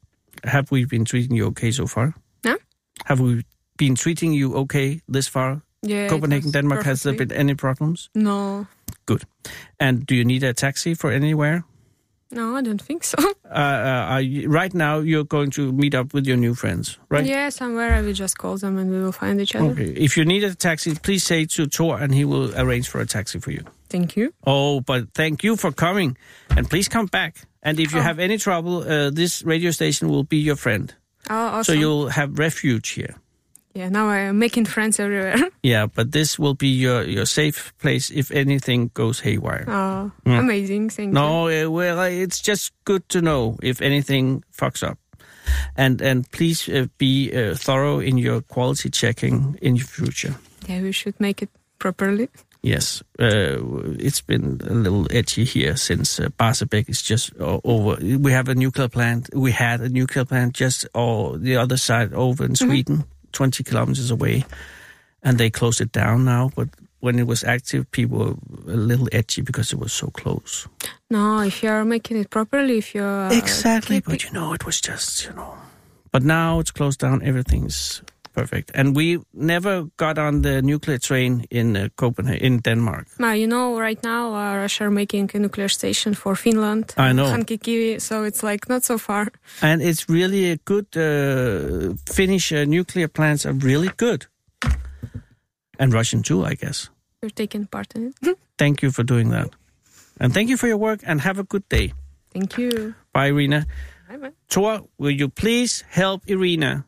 [SPEAKER 2] Have we been treating you okay so far?
[SPEAKER 7] Huh?
[SPEAKER 2] Have we been treating you okay this far?
[SPEAKER 7] Yeah, it
[SPEAKER 2] Copenhagen,
[SPEAKER 7] was
[SPEAKER 2] Denmark, has there
[SPEAKER 7] perfectly-
[SPEAKER 2] been any problems?
[SPEAKER 7] No,
[SPEAKER 2] And do you need a taxi for anywhere?
[SPEAKER 7] no, I don't think so. [LAUGHS]
[SPEAKER 2] Uh, uh, are you, right now, you're going to meet up with your new friends, right?
[SPEAKER 7] Yeah, somewhere I will just call them and we will find each other.
[SPEAKER 2] Okay. Mm. If you need a taxi, please say to Tor, and he will arrange for a taxi for you.
[SPEAKER 7] Thank you.
[SPEAKER 2] Oh, but thank you for coming, and please come back. And if you
[SPEAKER 7] Oh.
[SPEAKER 2] have any trouble, uh, this radio station will be your friend, so
[SPEAKER 7] Oh, awesome.
[SPEAKER 2] you'll have refuge here.
[SPEAKER 7] Yeah, now I'm making friends everywhere. [LAUGHS]
[SPEAKER 2] Yeah, but this will be your your safe place if anything goes haywire.
[SPEAKER 7] Oh,
[SPEAKER 2] Yeah.
[SPEAKER 7] amazing. Thank you.
[SPEAKER 2] No, uh, well, uh, it's just good to know if anything fucks up, and and please uh, be uh, thorough in your quality checking in your future.
[SPEAKER 7] Yeah, we should make it properly.
[SPEAKER 2] Yes, uh, it's been a little edgy here since uh, Barsebäck is just o- over. We have a nuclear plant. We had a nuclear plant just on the other Mm-hmm. side over in Sweden, twenty kilometers away, and they closed it down now. But when it was active, people were a little edgy because it was so close.
[SPEAKER 7] No, if you're making it properly, if you're uh,
[SPEAKER 2] exactly,
[SPEAKER 7] keeping-
[SPEAKER 2] but you know, it was just you know. But now it's closed down. Everything's perfect, and we never got on the nuclear train in uh, Copenhagen, in Denmark.
[SPEAKER 7] Now, Ah, you know, right now uh, Russia are making a nuclear station for Finland.
[SPEAKER 2] I know.
[SPEAKER 7] Hankikivi, so it's like not so far.
[SPEAKER 2] And it's really a good. Uh, Finnish uh, nuclear plants are really good, and Russian too, I guess.
[SPEAKER 7] You're taking part in it.
[SPEAKER 2] Thank you for doing that, and thank you for your work. And have a good day.
[SPEAKER 7] Thank you.
[SPEAKER 2] Bye, Irina.
[SPEAKER 7] Bye bye.
[SPEAKER 2] Tor, will you please help Irina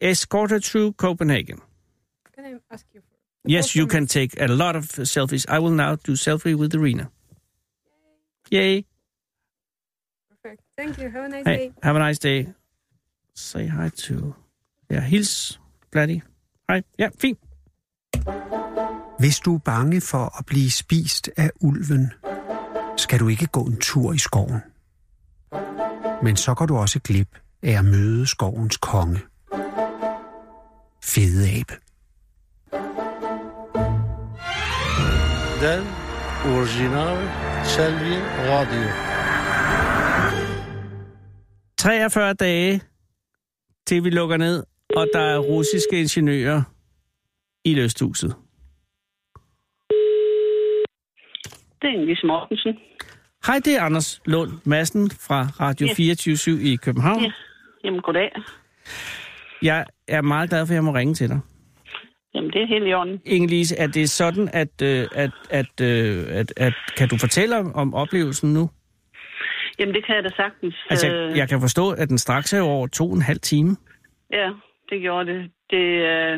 [SPEAKER 2] escort her through Copenhagen?
[SPEAKER 7] Can I ask you? For-
[SPEAKER 2] Yes, you can take a lot of selfies. I will now do selfie with Irina. Yay.
[SPEAKER 7] Perfect. Thank you. Have a nice
[SPEAKER 2] Hey,
[SPEAKER 7] day.
[SPEAKER 2] have a nice day. Say hi to... Ja, hils, Blatty. Hej. Ja, fint.
[SPEAKER 1] Hvis du er bange for at blive spist af ulven, skal du ikke gå en tur i skoven. Men så går du også glip af at møde skovens konge. Fede abe.
[SPEAKER 8] Den originale Salvi Radio.
[SPEAKER 2] 43 dage, til vi lukker ned, og der er russiske ingeniører i lysthuset.
[SPEAKER 9] Det er Nis Mortensen.
[SPEAKER 2] Hej, det er Anders Lund Madsen fra Radio 24 i København.
[SPEAKER 9] Ja. Jamen, goddag.
[SPEAKER 2] Jeg er meget glad for, at jeg må ringe til dig.
[SPEAKER 9] Jamen, det er helt i orden.
[SPEAKER 2] Inge-Lise, er det sådan, at, øh, at, at, øh, at, at kan du fortælle om, om oplevelsen nu?
[SPEAKER 9] Jamen, det kan jeg da sagtens.
[SPEAKER 2] Altså,
[SPEAKER 9] Øh,
[SPEAKER 2] jeg kan forstå, at den straks er over to og en halv time.
[SPEAKER 9] Ja, det gjorde det. det øh,
[SPEAKER 2] er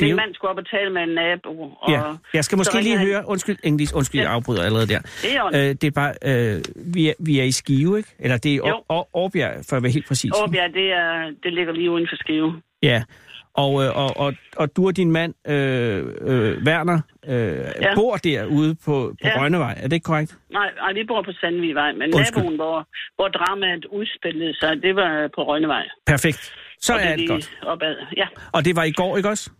[SPEAKER 9] min
[SPEAKER 2] jo-
[SPEAKER 9] mand skulle op og tale med en nabo. Og
[SPEAKER 2] Ja. Jeg skal
[SPEAKER 9] så
[SPEAKER 2] måske lige
[SPEAKER 9] ringer han-
[SPEAKER 2] høre... Undskyld, Inge-Lise, undskyld, jeg afbryder allerede der.
[SPEAKER 9] Det er
[SPEAKER 2] Øh,
[SPEAKER 9] ordentligt.
[SPEAKER 2] det er bare... Øh, vi, er, vi er i Skive, ikke? Eller det er i Aar-
[SPEAKER 9] Jo.
[SPEAKER 2] Aar- Aarbjerg, for at være helt præcis.
[SPEAKER 9] Åbjerg, det, er, det ligger lige uden for Skive.
[SPEAKER 2] Ja. Og, øh, og, og, og du og din mand, øh, øh, Werner, øh, ja. bor derude på, på ja.
[SPEAKER 9] Ja.
[SPEAKER 2] Rønnevej. Er det ikke korrekt?
[SPEAKER 9] Nej, nej, vi bor på Sandvigvej, men
[SPEAKER 2] Undskyld.
[SPEAKER 9] naboen, hvor, hvor dramaet udspillede sig, det var på Rønnevej.
[SPEAKER 2] Perfekt. Så
[SPEAKER 9] Og det
[SPEAKER 2] er
[SPEAKER 9] lige
[SPEAKER 2] det godt.
[SPEAKER 9] Opad. Ja,
[SPEAKER 2] Og det var i går, ikke også?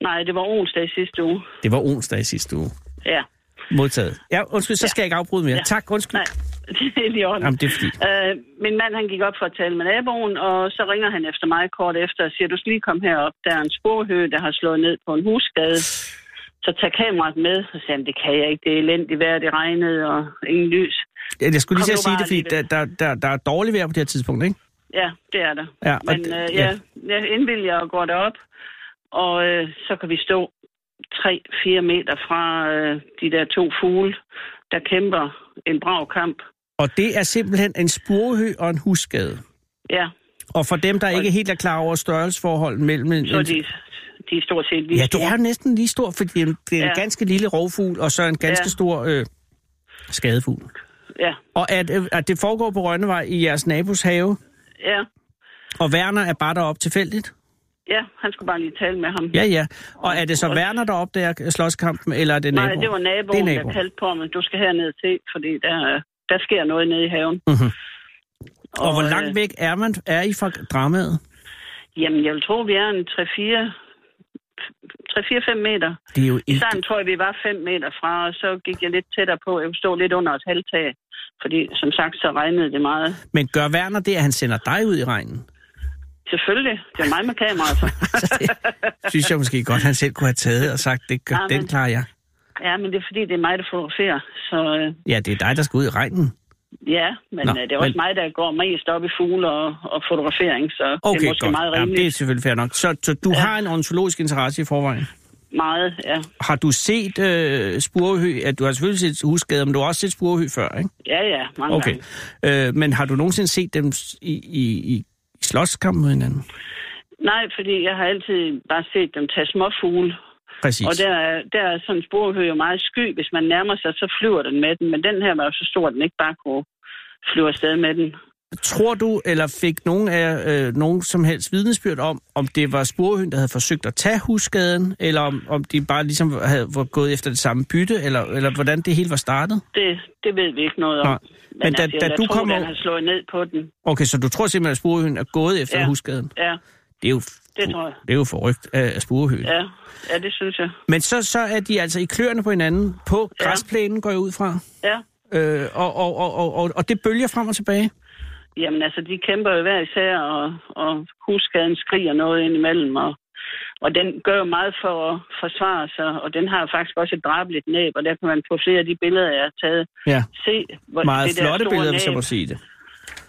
[SPEAKER 9] nej, det var onsdag i sidste uge.
[SPEAKER 2] Det var onsdag i sidste uge.
[SPEAKER 9] Ja,
[SPEAKER 2] Modtaget. Ja, undskyld, så skal jeg ikke afbryde mere. Ja.
[SPEAKER 9] Ja.
[SPEAKER 2] Tak, undskyld.
[SPEAKER 9] nej, [LAUGHS] det er lige i orden.
[SPEAKER 2] Jamen, det er fordi...
[SPEAKER 9] Øh, min mand han gik op for at tale med naboen, og så ringer han efter mig kort efter og siger, du skal lige komme herop, der er en sporhø, der har slået ned på en husskade. Så tag kameraet med, og sagde, han, det kan jeg ikke, det er elendigt vejr, det regnede og ingen lys.
[SPEAKER 2] Ja, Jeg skulle lige
[SPEAKER 9] Kom
[SPEAKER 2] til at
[SPEAKER 9] nu
[SPEAKER 2] sige
[SPEAKER 9] bare
[SPEAKER 2] det, fordi
[SPEAKER 9] lige
[SPEAKER 2] der,
[SPEAKER 9] lidt.
[SPEAKER 2] der, der, der er dårligt vejr på det her tidspunkt, ikke?
[SPEAKER 9] Ja, det er der.
[SPEAKER 2] Ja, og
[SPEAKER 9] Men
[SPEAKER 2] d-
[SPEAKER 9] øh,
[SPEAKER 2] ja.
[SPEAKER 9] ja, jeg indvilger og går derop, og øh, så kan vi stå 3-4 meter fra øh, de der to fugle, der kæmper en brav kamp.
[SPEAKER 2] Og det er simpelthen en spurhø og en husskade.
[SPEAKER 9] Ja,
[SPEAKER 2] Og for dem, der ikke helt er klar over størrelsesforholdet mellem... En,
[SPEAKER 9] så er de, de er stort set lige
[SPEAKER 2] ja, det
[SPEAKER 9] store.
[SPEAKER 2] er jo næsten lige stor, fordi det er en- det er en
[SPEAKER 9] Ja.
[SPEAKER 2] ganske lille rovfugl, og så en ganske
[SPEAKER 9] Ja.
[SPEAKER 2] stor øh, skadefugl.
[SPEAKER 9] Ja,
[SPEAKER 2] Og at, øh, at det foregår på Rønnevej i jeres nabos have,
[SPEAKER 9] ja.
[SPEAKER 2] og Werner er bare deroppe tilfældigt?
[SPEAKER 9] Ja, han skulle bare lige tale med ham.
[SPEAKER 2] Ja, ja. Og er det så
[SPEAKER 9] Og-
[SPEAKER 2] Werner, der opdager slåskampen, eller er det naboen?
[SPEAKER 9] Nej, det var naboen,
[SPEAKER 2] Det er
[SPEAKER 9] der
[SPEAKER 2] naboen.
[SPEAKER 9] kaldte på mig. Du skal herned til, fordi der, øh, der sker noget nede i haven.
[SPEAKER 2] Mhm. Og, og hvor
[SPEAKER 9] øh,
[SPEAKER 2] langt væk er man er I fra dramaet?
[SPEAKER 9] Jamen, jeg vil tro, vi er en 3-4-5 meter.
[SPEAKER 2] Det er jo
[SPEAKER 9] I
[SPEAKER 2] ikke...
[SPEAKER 9] starten tror jeg, vi var 5 meter fra, og så gik jeg lidt tættere på. Jeg kunne stå lidt under et halvtag, fordi som sagt, så regnede det meget.
[SPEAKER 2] Men gør Werner det, at han sender dig ud i regnen?
[SPEAKER 9] Selvfølgelig, det er mig med kameraet.
[SPEAKER 2] [LAUGHS]
[SPEAKER 9] så.
[SPEAKER 2] Synes jeg måske godt, han selv kunne have taget og sagt, det gør,
[SPEAKER 9] Amen.
[SPEAKER 2] den klarer jeg.
[SPEAKER 9] Ja, men det er fordi, det er mig, der fotograferer. Så øh,
[SPEAKER 2] Ja, det er dig, der skal ud i regnen.
[SPEAKER 9] ja, men
[SPEAKER 2] Nå,
[SPEAKER 9] Nå, det er også
[SPEAKER 2] men-
[SPEAKER 9] mig, der går mest op i fugle og, og fotografering, så
[SPEAKER 2] Okay,
[SPEAKER 9] det er måske
[SPEAKER 2] godt.
[SPEAKER 9] meget
[SPEAKER 2] Jamen,
[SPEAKER 9] rimeligt.
[SPEAKER 2] det er selvfølgelig fair nok. Så, så du ja.
[SPEAKER 9] Ja.
[SPEAKER 2] har en ornitologisk interesse i forvejen.
[SPEAKER 9] Meget, ja.
[SPEAKER 2] Har du set øh, spurehø? At du har selvfølgelig set husskader, men du har også set spurehø før, ikke?
[SPEAKER 9] Ja, ja, mange
[SPEAKER 2] Okay.
[SPEAKER 9] gange.
[SPEAKER 2] Øh, men har du nogensinde set dem s- i, i, i slåskamp mod hinanden?
[SPEAKER 9] Nej, fordi jeg har altid bare set dem tage småfugle.
[SPEAKER 2] Præcis.
[SPEAKER 9] Og der, er- der er sådan en sporhø jo meget sky. Hvis man nærmer sig, så flyver den med den. Men den her var jo så stor, at den ikke bare kunne flyve afsted med den.
[SPEAKER 2] Tror du, eller fik nogen af jer, øh, nogen som helst vidnesbyrd om, om det var spurehøn, der havde forsøgt at tage husskaden, eller om, om de bare ligesom havde var gået efter det samme bytte, eller, eller hvordan det hele var startet?
[SPEAKER 9] Det, det ved vi ikke noget om. altså,
[SPEAKER 2] Nå. Men da-
[SPEAKER 9] jeg
[SPEAKER 2] da
[SPEAKER 9] vil
[SPEAKER 2] du
[SPEAKER 9] tro,
[SPEAKER 2] kommer-
[SPEAKER 9] den har slået ned på den.
[SPEAKER 2] Okay, så du tror simpelthen, at spurehøn er gået efter ja.
[SPEAKER 9] Ja.
[SPEAKER 2] husskaden?
[SPEAKER 9] Ja,
[SPEAKER 2] Det er jo,
[SPEAKER 9] Det tror jeg.
[SPEAKER 2] det er jo forrygt af spurehøen. Ja.
[SPEAKER 9] Ja, ja det synes jeg.
[SPEAKER 2] Men så, så er de altså i kløerne på hinanden, på græsplænen går jeg ud fra,
[SPEAKER 9] Ja.
[SPEAKER 2] øh, og, og, og, og, og, og det bølger frem og tilbage.
[SPEAKER 9] Jamen altså, de kæmper jo hver især, og, og husskaden skriger noget ind imellem, og, og den gør meget for at forsvare sig, og den har faktisk også et drabeligt næb, og der kan man på flere af de billeder, jeg har taget,
[SPEAKER 2] Ja,
[SPEAKER 9] se hvor
[SPEAKER 2] meget
[SPEAKER 9] det der
[SPEAKER 2] flotte
[SPEAKER 9] store
[SPEAKER 2] billeder,
[SPEAKER 9] næb.
[SPEAKER 2] hvis jeg må sige det.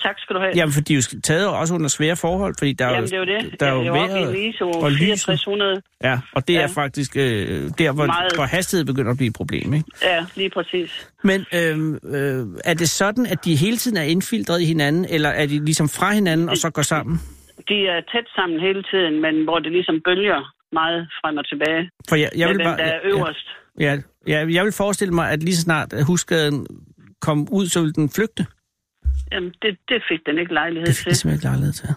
[SPEAKER 9] Tak skal du have.
[SPEAKER 2] Jamen, for de er jo taget også under svære forhold, fordi der
[SPEAKER 9] Jamen, det
[SPEAKER 2] er
[SPEAKER 9] er
[SPEAKER 2] jo,
[SPEAKER 9] jo det.
[SPEAKER 2] Der er jo
[SPEAKER 9] jeg er
[SPEAKER 2] vejret
[SPEAKER 9] oppe i en ISO
[SPEAKER 2] og lyset.
[SPEAKER 9] 6400.
[SPEAKER 2] Ja, og det ja.
[SPEAKER 9] Ja.
[SPEAKER 2] er faktisk øh, der, hvor,
[SPEAKER 9] Meget.
[SPEAKER 2] hvor hastighed begynder at blive et problem. Ikke?
[SPEAKER 9] Ja, lige præcis.
[SPEAKER 2] Men øh, øh, er det sådan, at de hele tiden er indfiltret i hinanden, eller er de ligesom fra hinanden og så går sammen?
[SPEAKER 9] De er tæt sammen hele tiden, men hvor det ligesom bølger meget frem og tilbage.
[SPEAKER 2] For jeg, jeg
[SPEAKER 9] med
[SPEAKER 2] vil bare,
[SPEAKER 9] hvem, der er
[SPEAKER 2] ja,
[SPEAKER 9] øverst.
[SPEAKER 2] ja, ja, jeg vil forestille mig, at lige så snart at husskaden kom ud, så ville den flygte.
[SPEAKER 9] Jamen, det, det fik den ikke lejlighed
[SPEAKER 2] Det fik
[SPEAKER 9] til.
[SPEAKER 2] jeg simpelthen ikke lejlighed til.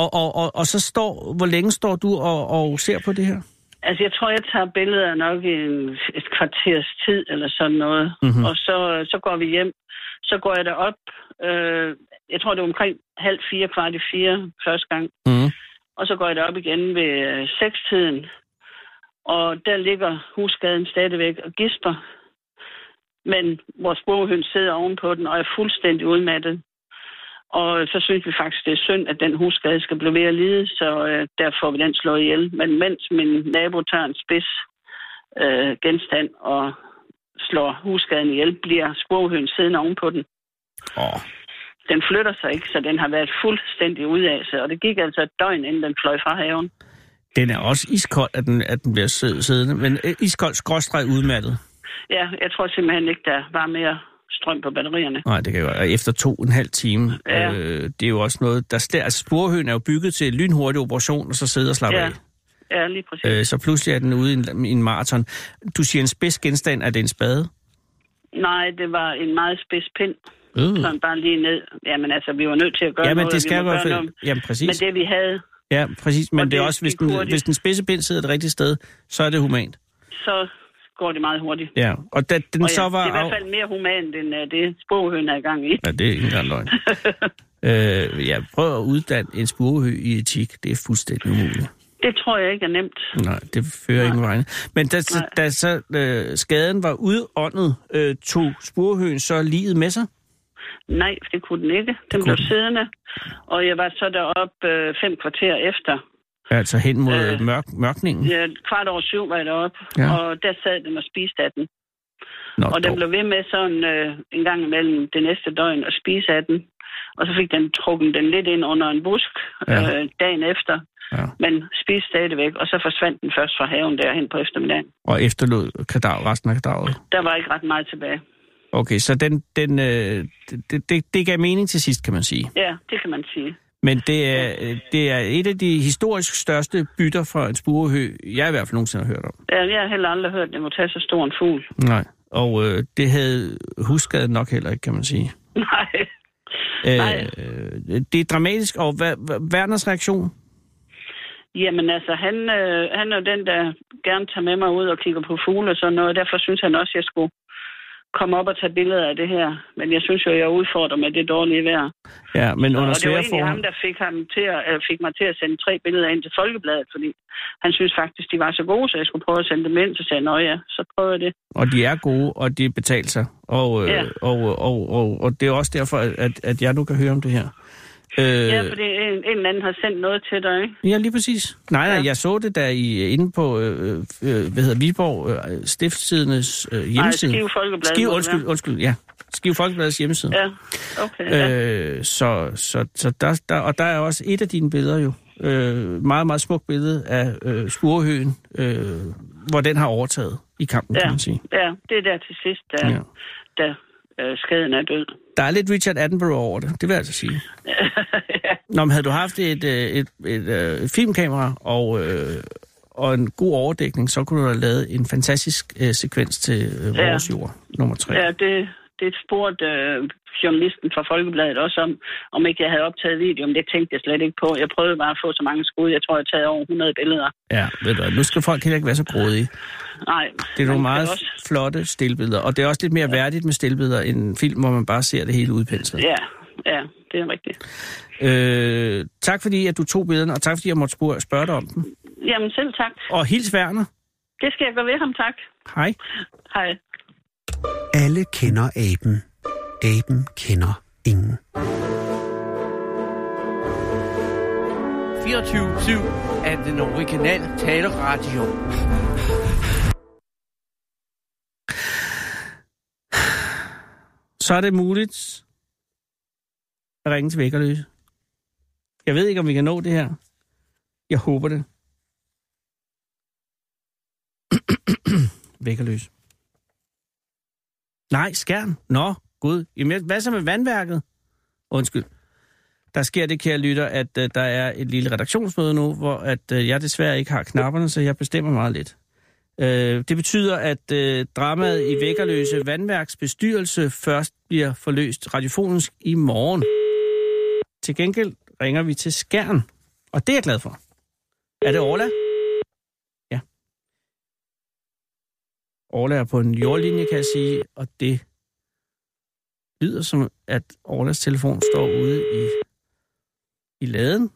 [SPEAKER 2] Og, og, og, og så står, hvor længe står du og, og ser på det her?
[SPEAKER 9] Altså, jeg tror, jeg tager billeder nok i en, et kvarters tid eller sådan noget. Mm-hmm. Og så, så går vi hjem. Så går jeg derop. Øh, jeg tror, det var omkring halv fire, kvart i fire første gang.
[SPEAKER 2] Mhm.
[SPEAKER 9] Og så går jeg derop igen ved øh, sekstiden. Og der ligger husskaden stadigvæk og gisper. Men vores borgehøn sidder ovenpå den og er fuldstændig udmattet. Og så synes vi faktisk, det er synd, at den husskade skal blive ved at lide, så øh, der får vi den slået ihjel. Men mens min nabo tager en spids øh, genstand og slår husskaden ihjel, bliver sporhøen siddende ovenpå den.
[SPEAKER 2] Åh,
[SPEAKER 9] Den flytter sig ikke, så den har været fuldstændig ud af sig, og det gik altså et døgn, inden den fløj fra haven.
[SPEAKER 2] den er også iskold, at den, at den bliver sid- siddende, men øh, iskold skråstreg udmattet.
[SPEAKER 9] Ja, jeg tror simpelthen ikke, der var mere strøm på batterierne.
[SPEAKER 2] Nej, det kan jo og Efter to og en halv time, ja.
[SPEAKER 9] Ja.
[SPEAKER 2] øh, det er jo også noget, der stær, altså sporhøen er jo bygget til lynhurtig operation, og så sidde og slappe ja.
[SPEAKER 9] Ja,
[SPEAKER 2] af.
[SPEAKER 9] ja lige præcis.
[SPEAKER 2] Øh, så pludselig er den ude i en, i en maraton. Du siger en spids genstand, er det en spade?
[SPEAKER 9] Nej, det var en meget spids pind,
[SPEAKER 2] Øh.
[SPEAKER 9] sådan bare lige ned. Jamen altså, vi var nødt til at gøre
[SPEAKER 2] Jamen,
[SPEAKER 9] noget,
[SPEAKER 2] det
[SPEAKER 9] og
[SPEAKER 2] skal i
[SPEAKER 9] vi må
[SPEAKER 2] hvert
[SPEAKER 9] gøre
[SPEAKER 2] fald...
[SPEAKER 9] noget
[SPEAKER 2] Jamen, præcis.
[SPEAKER 9] med det, vi havde.
[SPEAKER 2] Ja, præcis. Men
[SPEAKER 9] Og
[SPEAKER 2] det er
[SPEAKER 9] det
[SPEAKER 2] også, hvis
[SPEAKER 9] gik
[SPEAKER 2] den,
[SPEAKER 9] hurtigt.
[SPEAKER 2] hvis den spidse pind sidder det rigtige sted, så er det humant.
[SPEAKER 9] så går det meget hurtigt.
[SPEAKER 2] Ja, og da den
[SPEAKER 9] Og
[SPEAKER 2] så var...
[SPEAKER 9] det er i
[SPEAKER 2] af-
[SPEAKER 9] hvert fald mere humant, end uh, det spoghøn er i gang i.
[SPEAKER 2] Ja, det er ikke engang
[SPEAKER 9] [LAUGHS]
[SPEAKER 2] løgn. øh, ja, prøv at uddanne en spurehø i etik. Det er fuldstændig umuligt.
[SPEAKER 9] Det tror jeg ikke er nemt.
[SPEAKER 2] Nej, det fører ingen vegne. Men da, så-
[SPEAKER 9] Nej.
[SPEAKER 2] da så øh, skaden var udåndet, øh, tog spurehøen så livet med sig?
[SPEAKER 9] Nej, det kunne den ikke. Den blev siddende. Og jeg var så deroppe øh, fem kvarter efter.
[SPEAKER 2] Altså hen mod øh,
[SPEAKER 9] Øh.
[SPEAKER 2] mørk, mørkningen?
[SPEAKER 9] Ja, kvart over syv var jeg deroppe,
[SPEAKER 2] Ja.
[SPEAKER 9] ja. og der sad den og spiste af den.
[SPEAKER 2] Nå,
[SPEAKER 9] Og den
[SPEAKER 2] dog.
[SPEAKER 9] blev ved med sådan øh, en gang imellem det næste døgn at spise af den. Og så fik den trukket den lidt ind under en busk
[SPEAKER 2] Ja.
[SPEAKER 9] ja. øh, dagen efter.
[SPEAKER 2] Ja.
[SPEAKER 9] Ja. Men spiste stadigvæk, og så forsvandt den først fra haven derhen på eftermiddagen.
[SPEAKER 2] Og efterlod kadaver, resten af kadaveret.
[SPEAKER 9] Der var ikke ret meget tilbage.
[SPEAKER 2] Okay, så den, den, øh, det, det, det gav mening til sidst, kan man sige.
[SPEAKER 9] Ja, det kan man sige.
[SPEAKER 2] Men det er, øh, det er et af de historisk største bytter fra en spurehø, jeg i hvert fald nogensinde har hørt om.
[SPEAKER 9] Ja, jeg har heller aldrig hørt, at det må tage så stor en fugl. [LAUGHS]
[SPEAKER 2] Nej. Og øh, det havde husskaden nok heller ikke, kan man sige.
[SPEAKER 9] Nej. Nej.
[SPEAKER 2] Øh, det er dramatisk, og hvad, hvad, Werners reaktion?
[SPEAKER 9] Jamen altså, han, øh, han er jo den, der gerne tager med mig ud og kigger på fugle og sådan noget. Derfor synes han også, at jeg skulle komme op og tage billeder af det her. Men jeg synes jo, at jeg udfordrer med det dårlige vejr.
[SPEAKER 2] Ja, men under
[SPEAKER 9] og det var
[SPEAKER 2] svære
[SPEAKER 9] egentlig ham,
[SPEAKER 2] forhold.
[SPEAKER 9] der fik, ham til at, øh, fik mig til at sende tre billeder ind til Folkebladet, fordi han synes faktisk, de var så gode, så jeg skulle prøve at sende dem ind. Så sagde jeg, at ja, så prøver jeg det.
[SPEAKER 2] Og de er gode, og de betaler sig. Og, øh,
[SPEAKER 9] Ja.
[SPEAKER 2] og, og, og, og, og det er også derfor, at, at jeg nu kan høre om det her. Øh,
[SPEAKER 9] Øh. Ja, fordi en, en eller anden har sendt noget til dig, ikke?
[SPEAKER 2] Ja, lige præcis. Nej, nej, ja.
[SPEAKER 9] Ja.
[SPEAKER 2] jeg så det der i, inde på, øh, øh, hvad hedder Viborg, øh, Stiftstidendes øh, hjemmeside.
[SPEAKER 9] Skive Folkeblad
[SPEAKER 2] Skive,
[SPEAKER 9] må det
[SPEAKER 2] undskyld,
[SPEAKER 9] være.
[SPEAKER 2] undskyld, ja. Skive Folkebladets hjemmeside.
[SPEAKER 9] Ja, okay. Ja.
[SPEAKER 2] Ja. Øh, så, så, så der, der, og der er også et af dine billeder jo. Øh, meget, meget smukt billede af øh, skurehøen, øh, hvor den har overtaget i kampen, ja. kan
[SPEAKER 9] Ja,
[SPEAKER 2] man sige.
[SPEAKER 9] ja, det er der til sidst, der,
[SPEAKER 2] Ja.
[SPEAKER 9] ja. der øh, skaden er død.
[SPEAKER 2] Der er lidt Richard Attenborough over det, det vil jeg altså sige.
[SPEAKER 9] [LAUGHS] ja.
[SPEAKER 2] Nå, men havde du haft et, øh, et, et, øh, et filmkamera og, øh, og en god overdækning, så kunne du have lavet en fantastisk øh, sekvens til øh,
[SPEAKER 9] Ja.
[SPEAKER 2] Vores Jord, nummer tre.
[SPEAKER 9] ja, det, det spurgte øh, journalisten fra Folkebladet også om, om ikke jeg havde optaget video, men det tænkte jeg slet ikke på. Jeg prøvede bare at få så mange skud, jeg tror, jeg har taget over 100 billeder.
[SPEAKER 2] Ja, ved du, hvad, nu skal folk heller ikke være så grådige.
[SPEAKER 9] Nej,
[SPEAKER 2] Det er nogle
[SPEAKER 9] man
[SPEAKER 2] meget
[SPEAKER 9] kan også-
[SPEAKER 2] flotte stillbilleder, og det er også lidt mere værdigt med stillbilleder end en film, hvor man bare ser det hele udpenslet.
[SPEAKER 9] Ja, ja, det er rigtigt.
[SPEAKER 2] Øh, tak fordi, at du tog billederne, og tak fordi, jeg måtte spørge, spørge dig om dem.
[SPEAKER 9] Jamen selv tak.
[SPEAKER 2] Og hils Werner.
[SPEAKER 9] Det skal jeg gå ved ham, tak.
[SPEAKER 2] Hej.
[SPEAKER 9] Hej.
[SPEAKER 1] Alle kender aben. Aben kender ingen.
[SPEAKER 4] 24-7 af den originale taleradio.
[SPEAKER 2] Så er det muligt at ringe til Vækkerløse. Jeg ved ikke, om vi kan nå det her. Jeg håber det. Vækkerløse. Nej, skærm. Nå, gud. Jamen, jeg- hvad så med vandværket? Undskyld. Der sker det, kære lytter, at uh, der er et lille redaktionsmøde nu, hvor at, uh, jeg desværre ikke har knapperne, så jeg bestemmer meget lidt. Uh, det betyder, at uh, dramaet i Vækkerløse Vandværks bestyrelse først bliver forløst radiofonisk i morgen. Til gengæld ringer vi til Skærn, og det er jeg glad for. Er det Orla? Ja. Orla er på en jordlinje, kan jeg sige, og det lyder som, at Orlas telefon står ude i, i laden.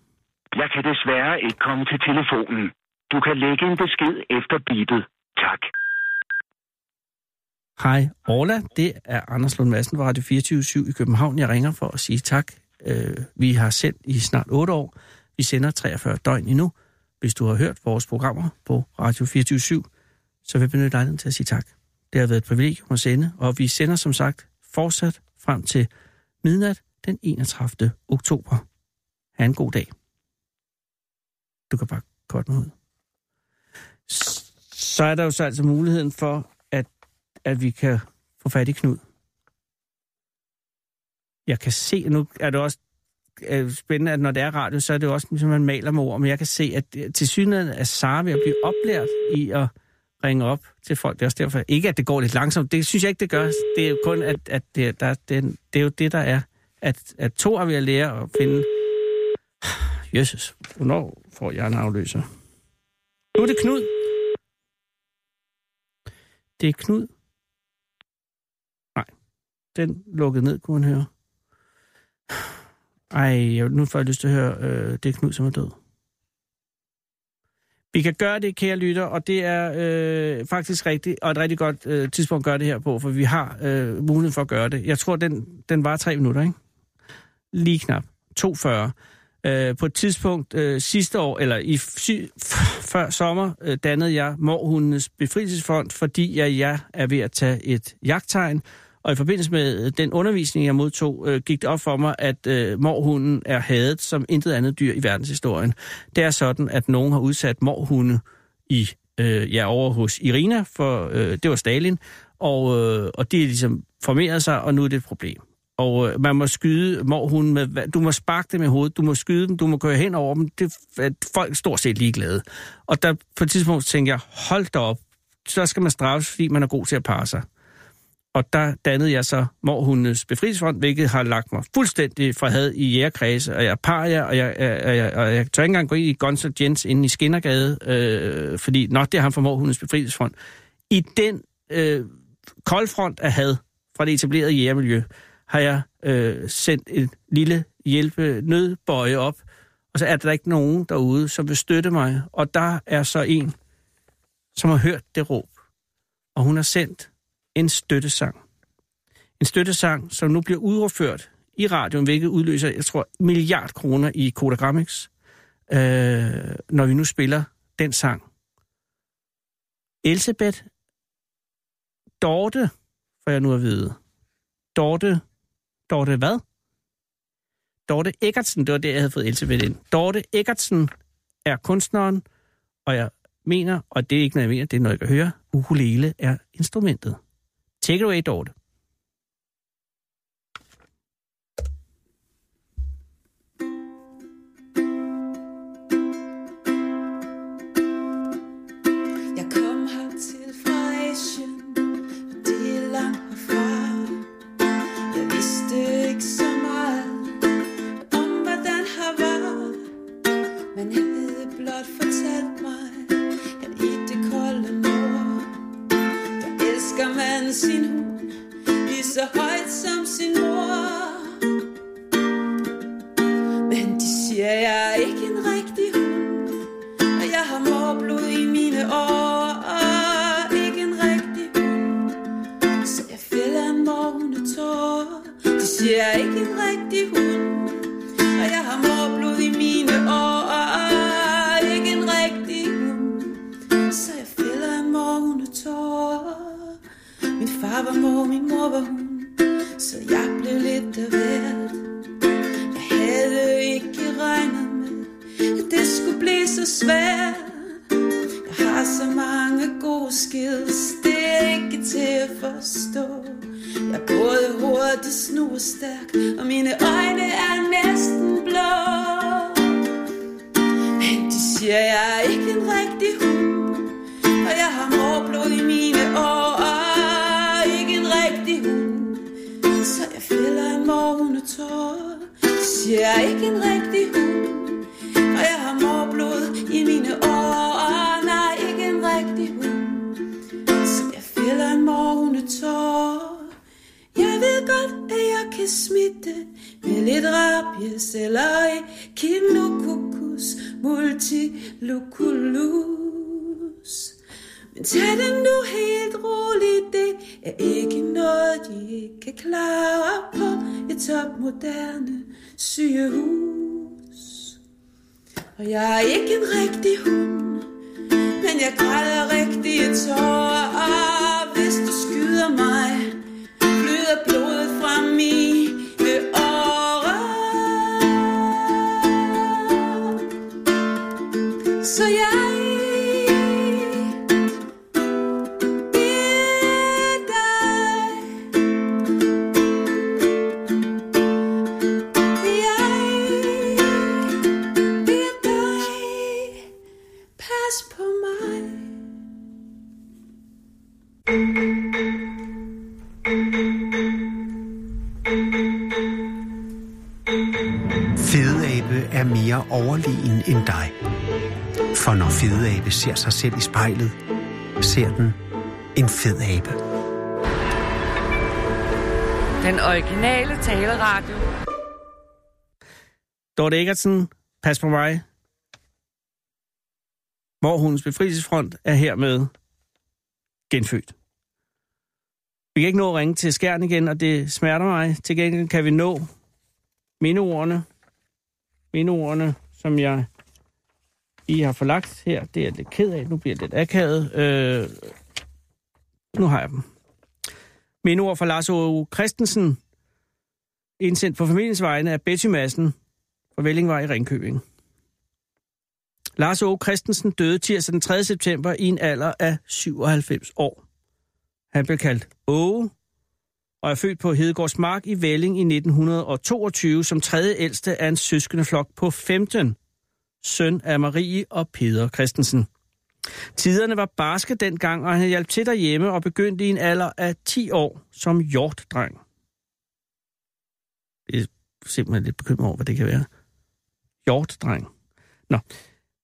[SPEAKER 10] Jeg kan desværre ikke komme til telefonen. Du kan lægge en besked efter beepet. Tak.
[SPEAKER 2] Hej, Orla. Det er Anders Lund Madsen fra Radio 24 i København. Jeg ringer for at sige tak. Øh, vi har sendt i snart 8 år. Vi sender 43 døgn endnu. Hvis du har hørt vores programmer på Radio 24 så vil jeg benytte lejligheden til at sige tak. Det har været et privilegium at sende, og vi sender som sagt fortsat frem til midnat den 31. oktober. Ha' en god dag. Du kan bare godt med ud. S- Så er der jo så altså muligheden for, at at vi kan få fat i Knud. Jeg kan se, nu er det også øh, spændende, at når det er radio, så er det jo også, som man maler med ord, men jeg kan se, at øh, til synligheden er Sara ved at blive oplært i at ringe op til folk. Det er også derfor, ikke at det går lidt langsomt, det synes jeg ikke, det gør. Det er jo kun, at, at det, der, det, det er jo det, der er, at, at to er ved at lære at finde, Jesus, hvornår får jeg en afløser? Nu er det Knud. Det er Knud. Den lukkede ned, kunne man høre. Ej, jeg, nu får jeg lyst til at høre, øh, det er Knud, som er død. Vi kan gøre det, kære lytter, og det er øh, faktisk rigtigt, og et rigtig godt øh, tidspunkt at gøre det her på, for vi har øh, muligheden for at gøre det. Jeg tror, den, den var tre minutter, ikke? Lige knap. 2.40. Øh, på et tidspunkt øh, sidste år, eller i sy- f- før sommer, øh, dannede jeg Morhundenes Befrielsesfond, fordi jeg, jeg er ved at tage et jagttegn, og i forbindelse med øh, den undervisning, jeg modtog, øh, gik det op for mig, at øh, morhunden er hadet som intet andet dyr i verdenshistorien. Det er sådan, at nogen har udsat morhunde i, øh, ja, over hos Irina, for øh, det var Stalin, og, øh, og det er ligesom formeret sig, og nu er det et problem. Og øh, man må skyde morhunden med, hva- du må sparke dem i hovedet, du må skyde dem, du må køre hen over dem. Det er folk stort set ligeglade. Og der på et tidspunkt tænkte jeg, hold da op, så skal man straffes, fordi man er god til at parre sig. Og der dannede jeg så Morhundenes Befrielsesfond, hvilket har lagt mig fuldstændig fra had i jægerkredse, og jeg er paria, og jeg, jeg, jeg, jeg, og jeg tør ikke engang gå ind i Guns N' Jens inde i Skinnergade, øh, fordi nok det er ham fra Morhundenes Befrielsesfond. I den øh, koldfront af had fra det etablerede jægermiljø, har jeg øh, sendt en lille hjælpe nødbøje op, og så er der ikke nogen derude, som vil støtte mig. Og der er så en, som har hørt det råb, og hun har sendt en støttesang. En støttesang, som nu bliver udført i radioen, hvilket udløser, jeg tror, milliard kroner i Kodagramix, øh, når vi nu spiller den sang. Elisabeth Dorte, får jeg nu at vide. Dorte, Dorte hvad? Dorte Eggertsen, det var det, jeg havde fået Elisabeth ind. Dorte Eggertsen er kunstneren, og jeg mener, og det er ikke noget, jeg mener, det er noget, jeg kan høre, ukulele er instrumentet. Take it away, Dorte.
[SPEAKER 11] Jeg kom hertil fra Asien, og det er langt herfra. Jeg vidste ikke så meget om, hvordan her var. Men han havde blot fortalt mig, at i det kolde nord, der elsker man sin hund lige så højt som sin mor. Jeg er ikke en rigtig hund, og jeg har morblod i mine år, og er ikke en rigtig hund. Så jeg fælder en morhundetår. Min far var mor, min mor var hun, så jeg blev lidt af hvert. Jeg havde ikke regnet med, at det skulle blive så svært. Jeg har så mange gode skills, det er ikke til at forstå. Jeg er både hurtig, snu og stærk, og mine øjne er næsten blå. Men de siger, jeg er ikke en rigtig hund, og jeg har morblod i mine år, og er ikke en rigtig hund. Så jeg fælder en morhundetår, de siger, jeg er ikke en rigtig hund, og jeg har morblod i mine år, og nej, ikke en rigtig hund. Så jeg fælder en morhundetår. Jeg ved godt, at jeg kan smitte med lidt rabies eller echinococcus multiloculus. Men tag det nu helt roligt, det er ikke noget, de ikke kan klare på et topmoderne sygehus. Og jeg er ikke en rigtig hund, men jeg græder rigtige tårer, og hvis du skyder mig, flyder blodet fra mine årer. Så jeg i dig. Jeg i dig. Pas på mig.
[SPEAKER 1] Fedeabe er mere overlegen end dig. For når fedeabe ser sig selv i spejlet, ser den en fed abe.
[SPEAKER 4] Den originale taleradio.
[SPEAKER 2] Dorte Eggertsen, pas på mig. Morhundens befrielsesfront er hermed genfødt. Vi kan ikke nå at ringe til skærn igen, og det smerter mig. Til gengæld kan vi nå mindeordene. Mindeordene, som jeg I har forlagt her. Det er jeg lidt ked af. Nu bliver det lidt akavet. Øh, nu har jeg dem. Mindeord fra Lars O. Christensen, indsendt på familiens vegne af Betty Madsen fra Vellingvej i Ringkøbing. Lars O. Christensen døde tirsdag den 3. september i en alder af 97 år. Han blev kaldt Åge og er født på Hedegaards Mark i Velling i 1922 som tredje ældste af en søskendeflok på 15, søn af Marie og Peder Christensen. Tiderne var barske dengang, og han hjalp til derhjemme og begyndte i en alder af 10 år som hjortdreng. Det er simpelthen lidt bekymret over, hvad det kan være. Hjortdreng. Nå.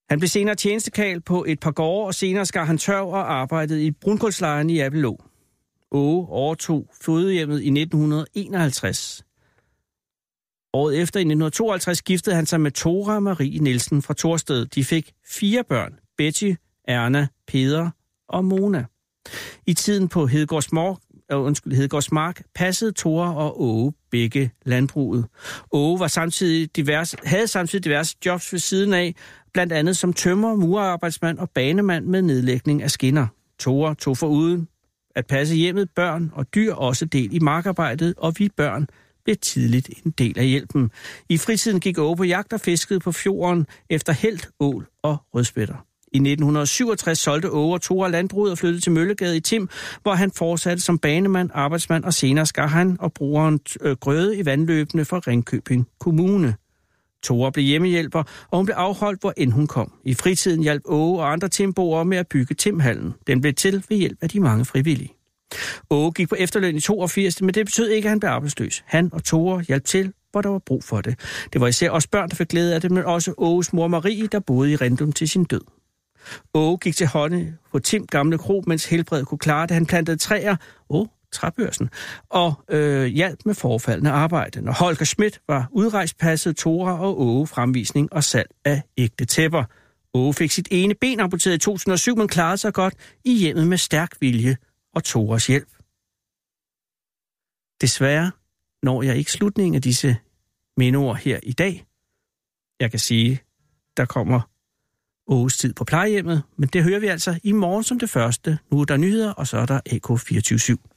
[SPEAKER 2] Han blev senere tjenestekal på et par gårde, og senere skar han tørv og arbejdede i brunkulslejren i Abelå. Åge overtog fødehjemmet i 1951. Året efter, i 1952, giftede han sig med Tora Marie Nielsen fra Torsted. De fik fire børn, Betty, Erna, Peder og Mona. I tiden på Hedegaards Mark, øh, undskyld, Hedegaards Mark passede Tora og Åge begge landbruget. Åge var samtidig divers, havde samtidig diverse jobs ved siden af, blandt andet som tømrer, murarbejdsmand og banemand med nedlægning af skinner. Tora tog foruden at passe hjemmet, børn og dyr også del i markarbejdet, og vi børn blev tidligt en del af hjælpen. I fritiden gik Åge på jagt og fiskede på fjorden efter helt, ål og rødspætter. I 1967 solgte Åge og Tora landbruget og flyttede til Møllegade i Tim, hvor han fortsatte som banemand, arbejdsmand og senere skar han og brugeren øh, grøde i vandløbene for Ringkøbing Kommune. Tora blev hjemmehjælper, og hun blev afholdt, hvor end hun kom. I fritiden hjalp Åge og andre Timboer med at bygge Timhallen. Den blev til ved hjælp af de mange frivillige. Åge gik på efterløn i 82, men det betød ikke, at han blev arbejdsløs. Han og Tore hjalp til, hvor der var brug for det. Det var især os børn, der fik glæde af det, men også Åges mor Marie, der boede i Rendum til sin død. Åge gik til hånde på Tim Gamle Kro, mens helbredet kunne klare det. Han plantede træer, åh, træbørsen, og øh, hjalp med forfaldende arbejde. Når Holger Schmidt var udrejst, passede Tora og Åge fremvisning og salg af ægte tæpper. Åge fik sit ene ben amputeret i 2007, men klarede sig godt i hjemmet med stærk vilje og Toras hjælp. Desværre når jeg ikke slutningen af disse mindeord her i dag. Jeg kan sige, der kommer Åges tid på plejehjemmet, men det hører vi altså i morgen som det første. Nu er der nyheder, og så er der AK 24 /7.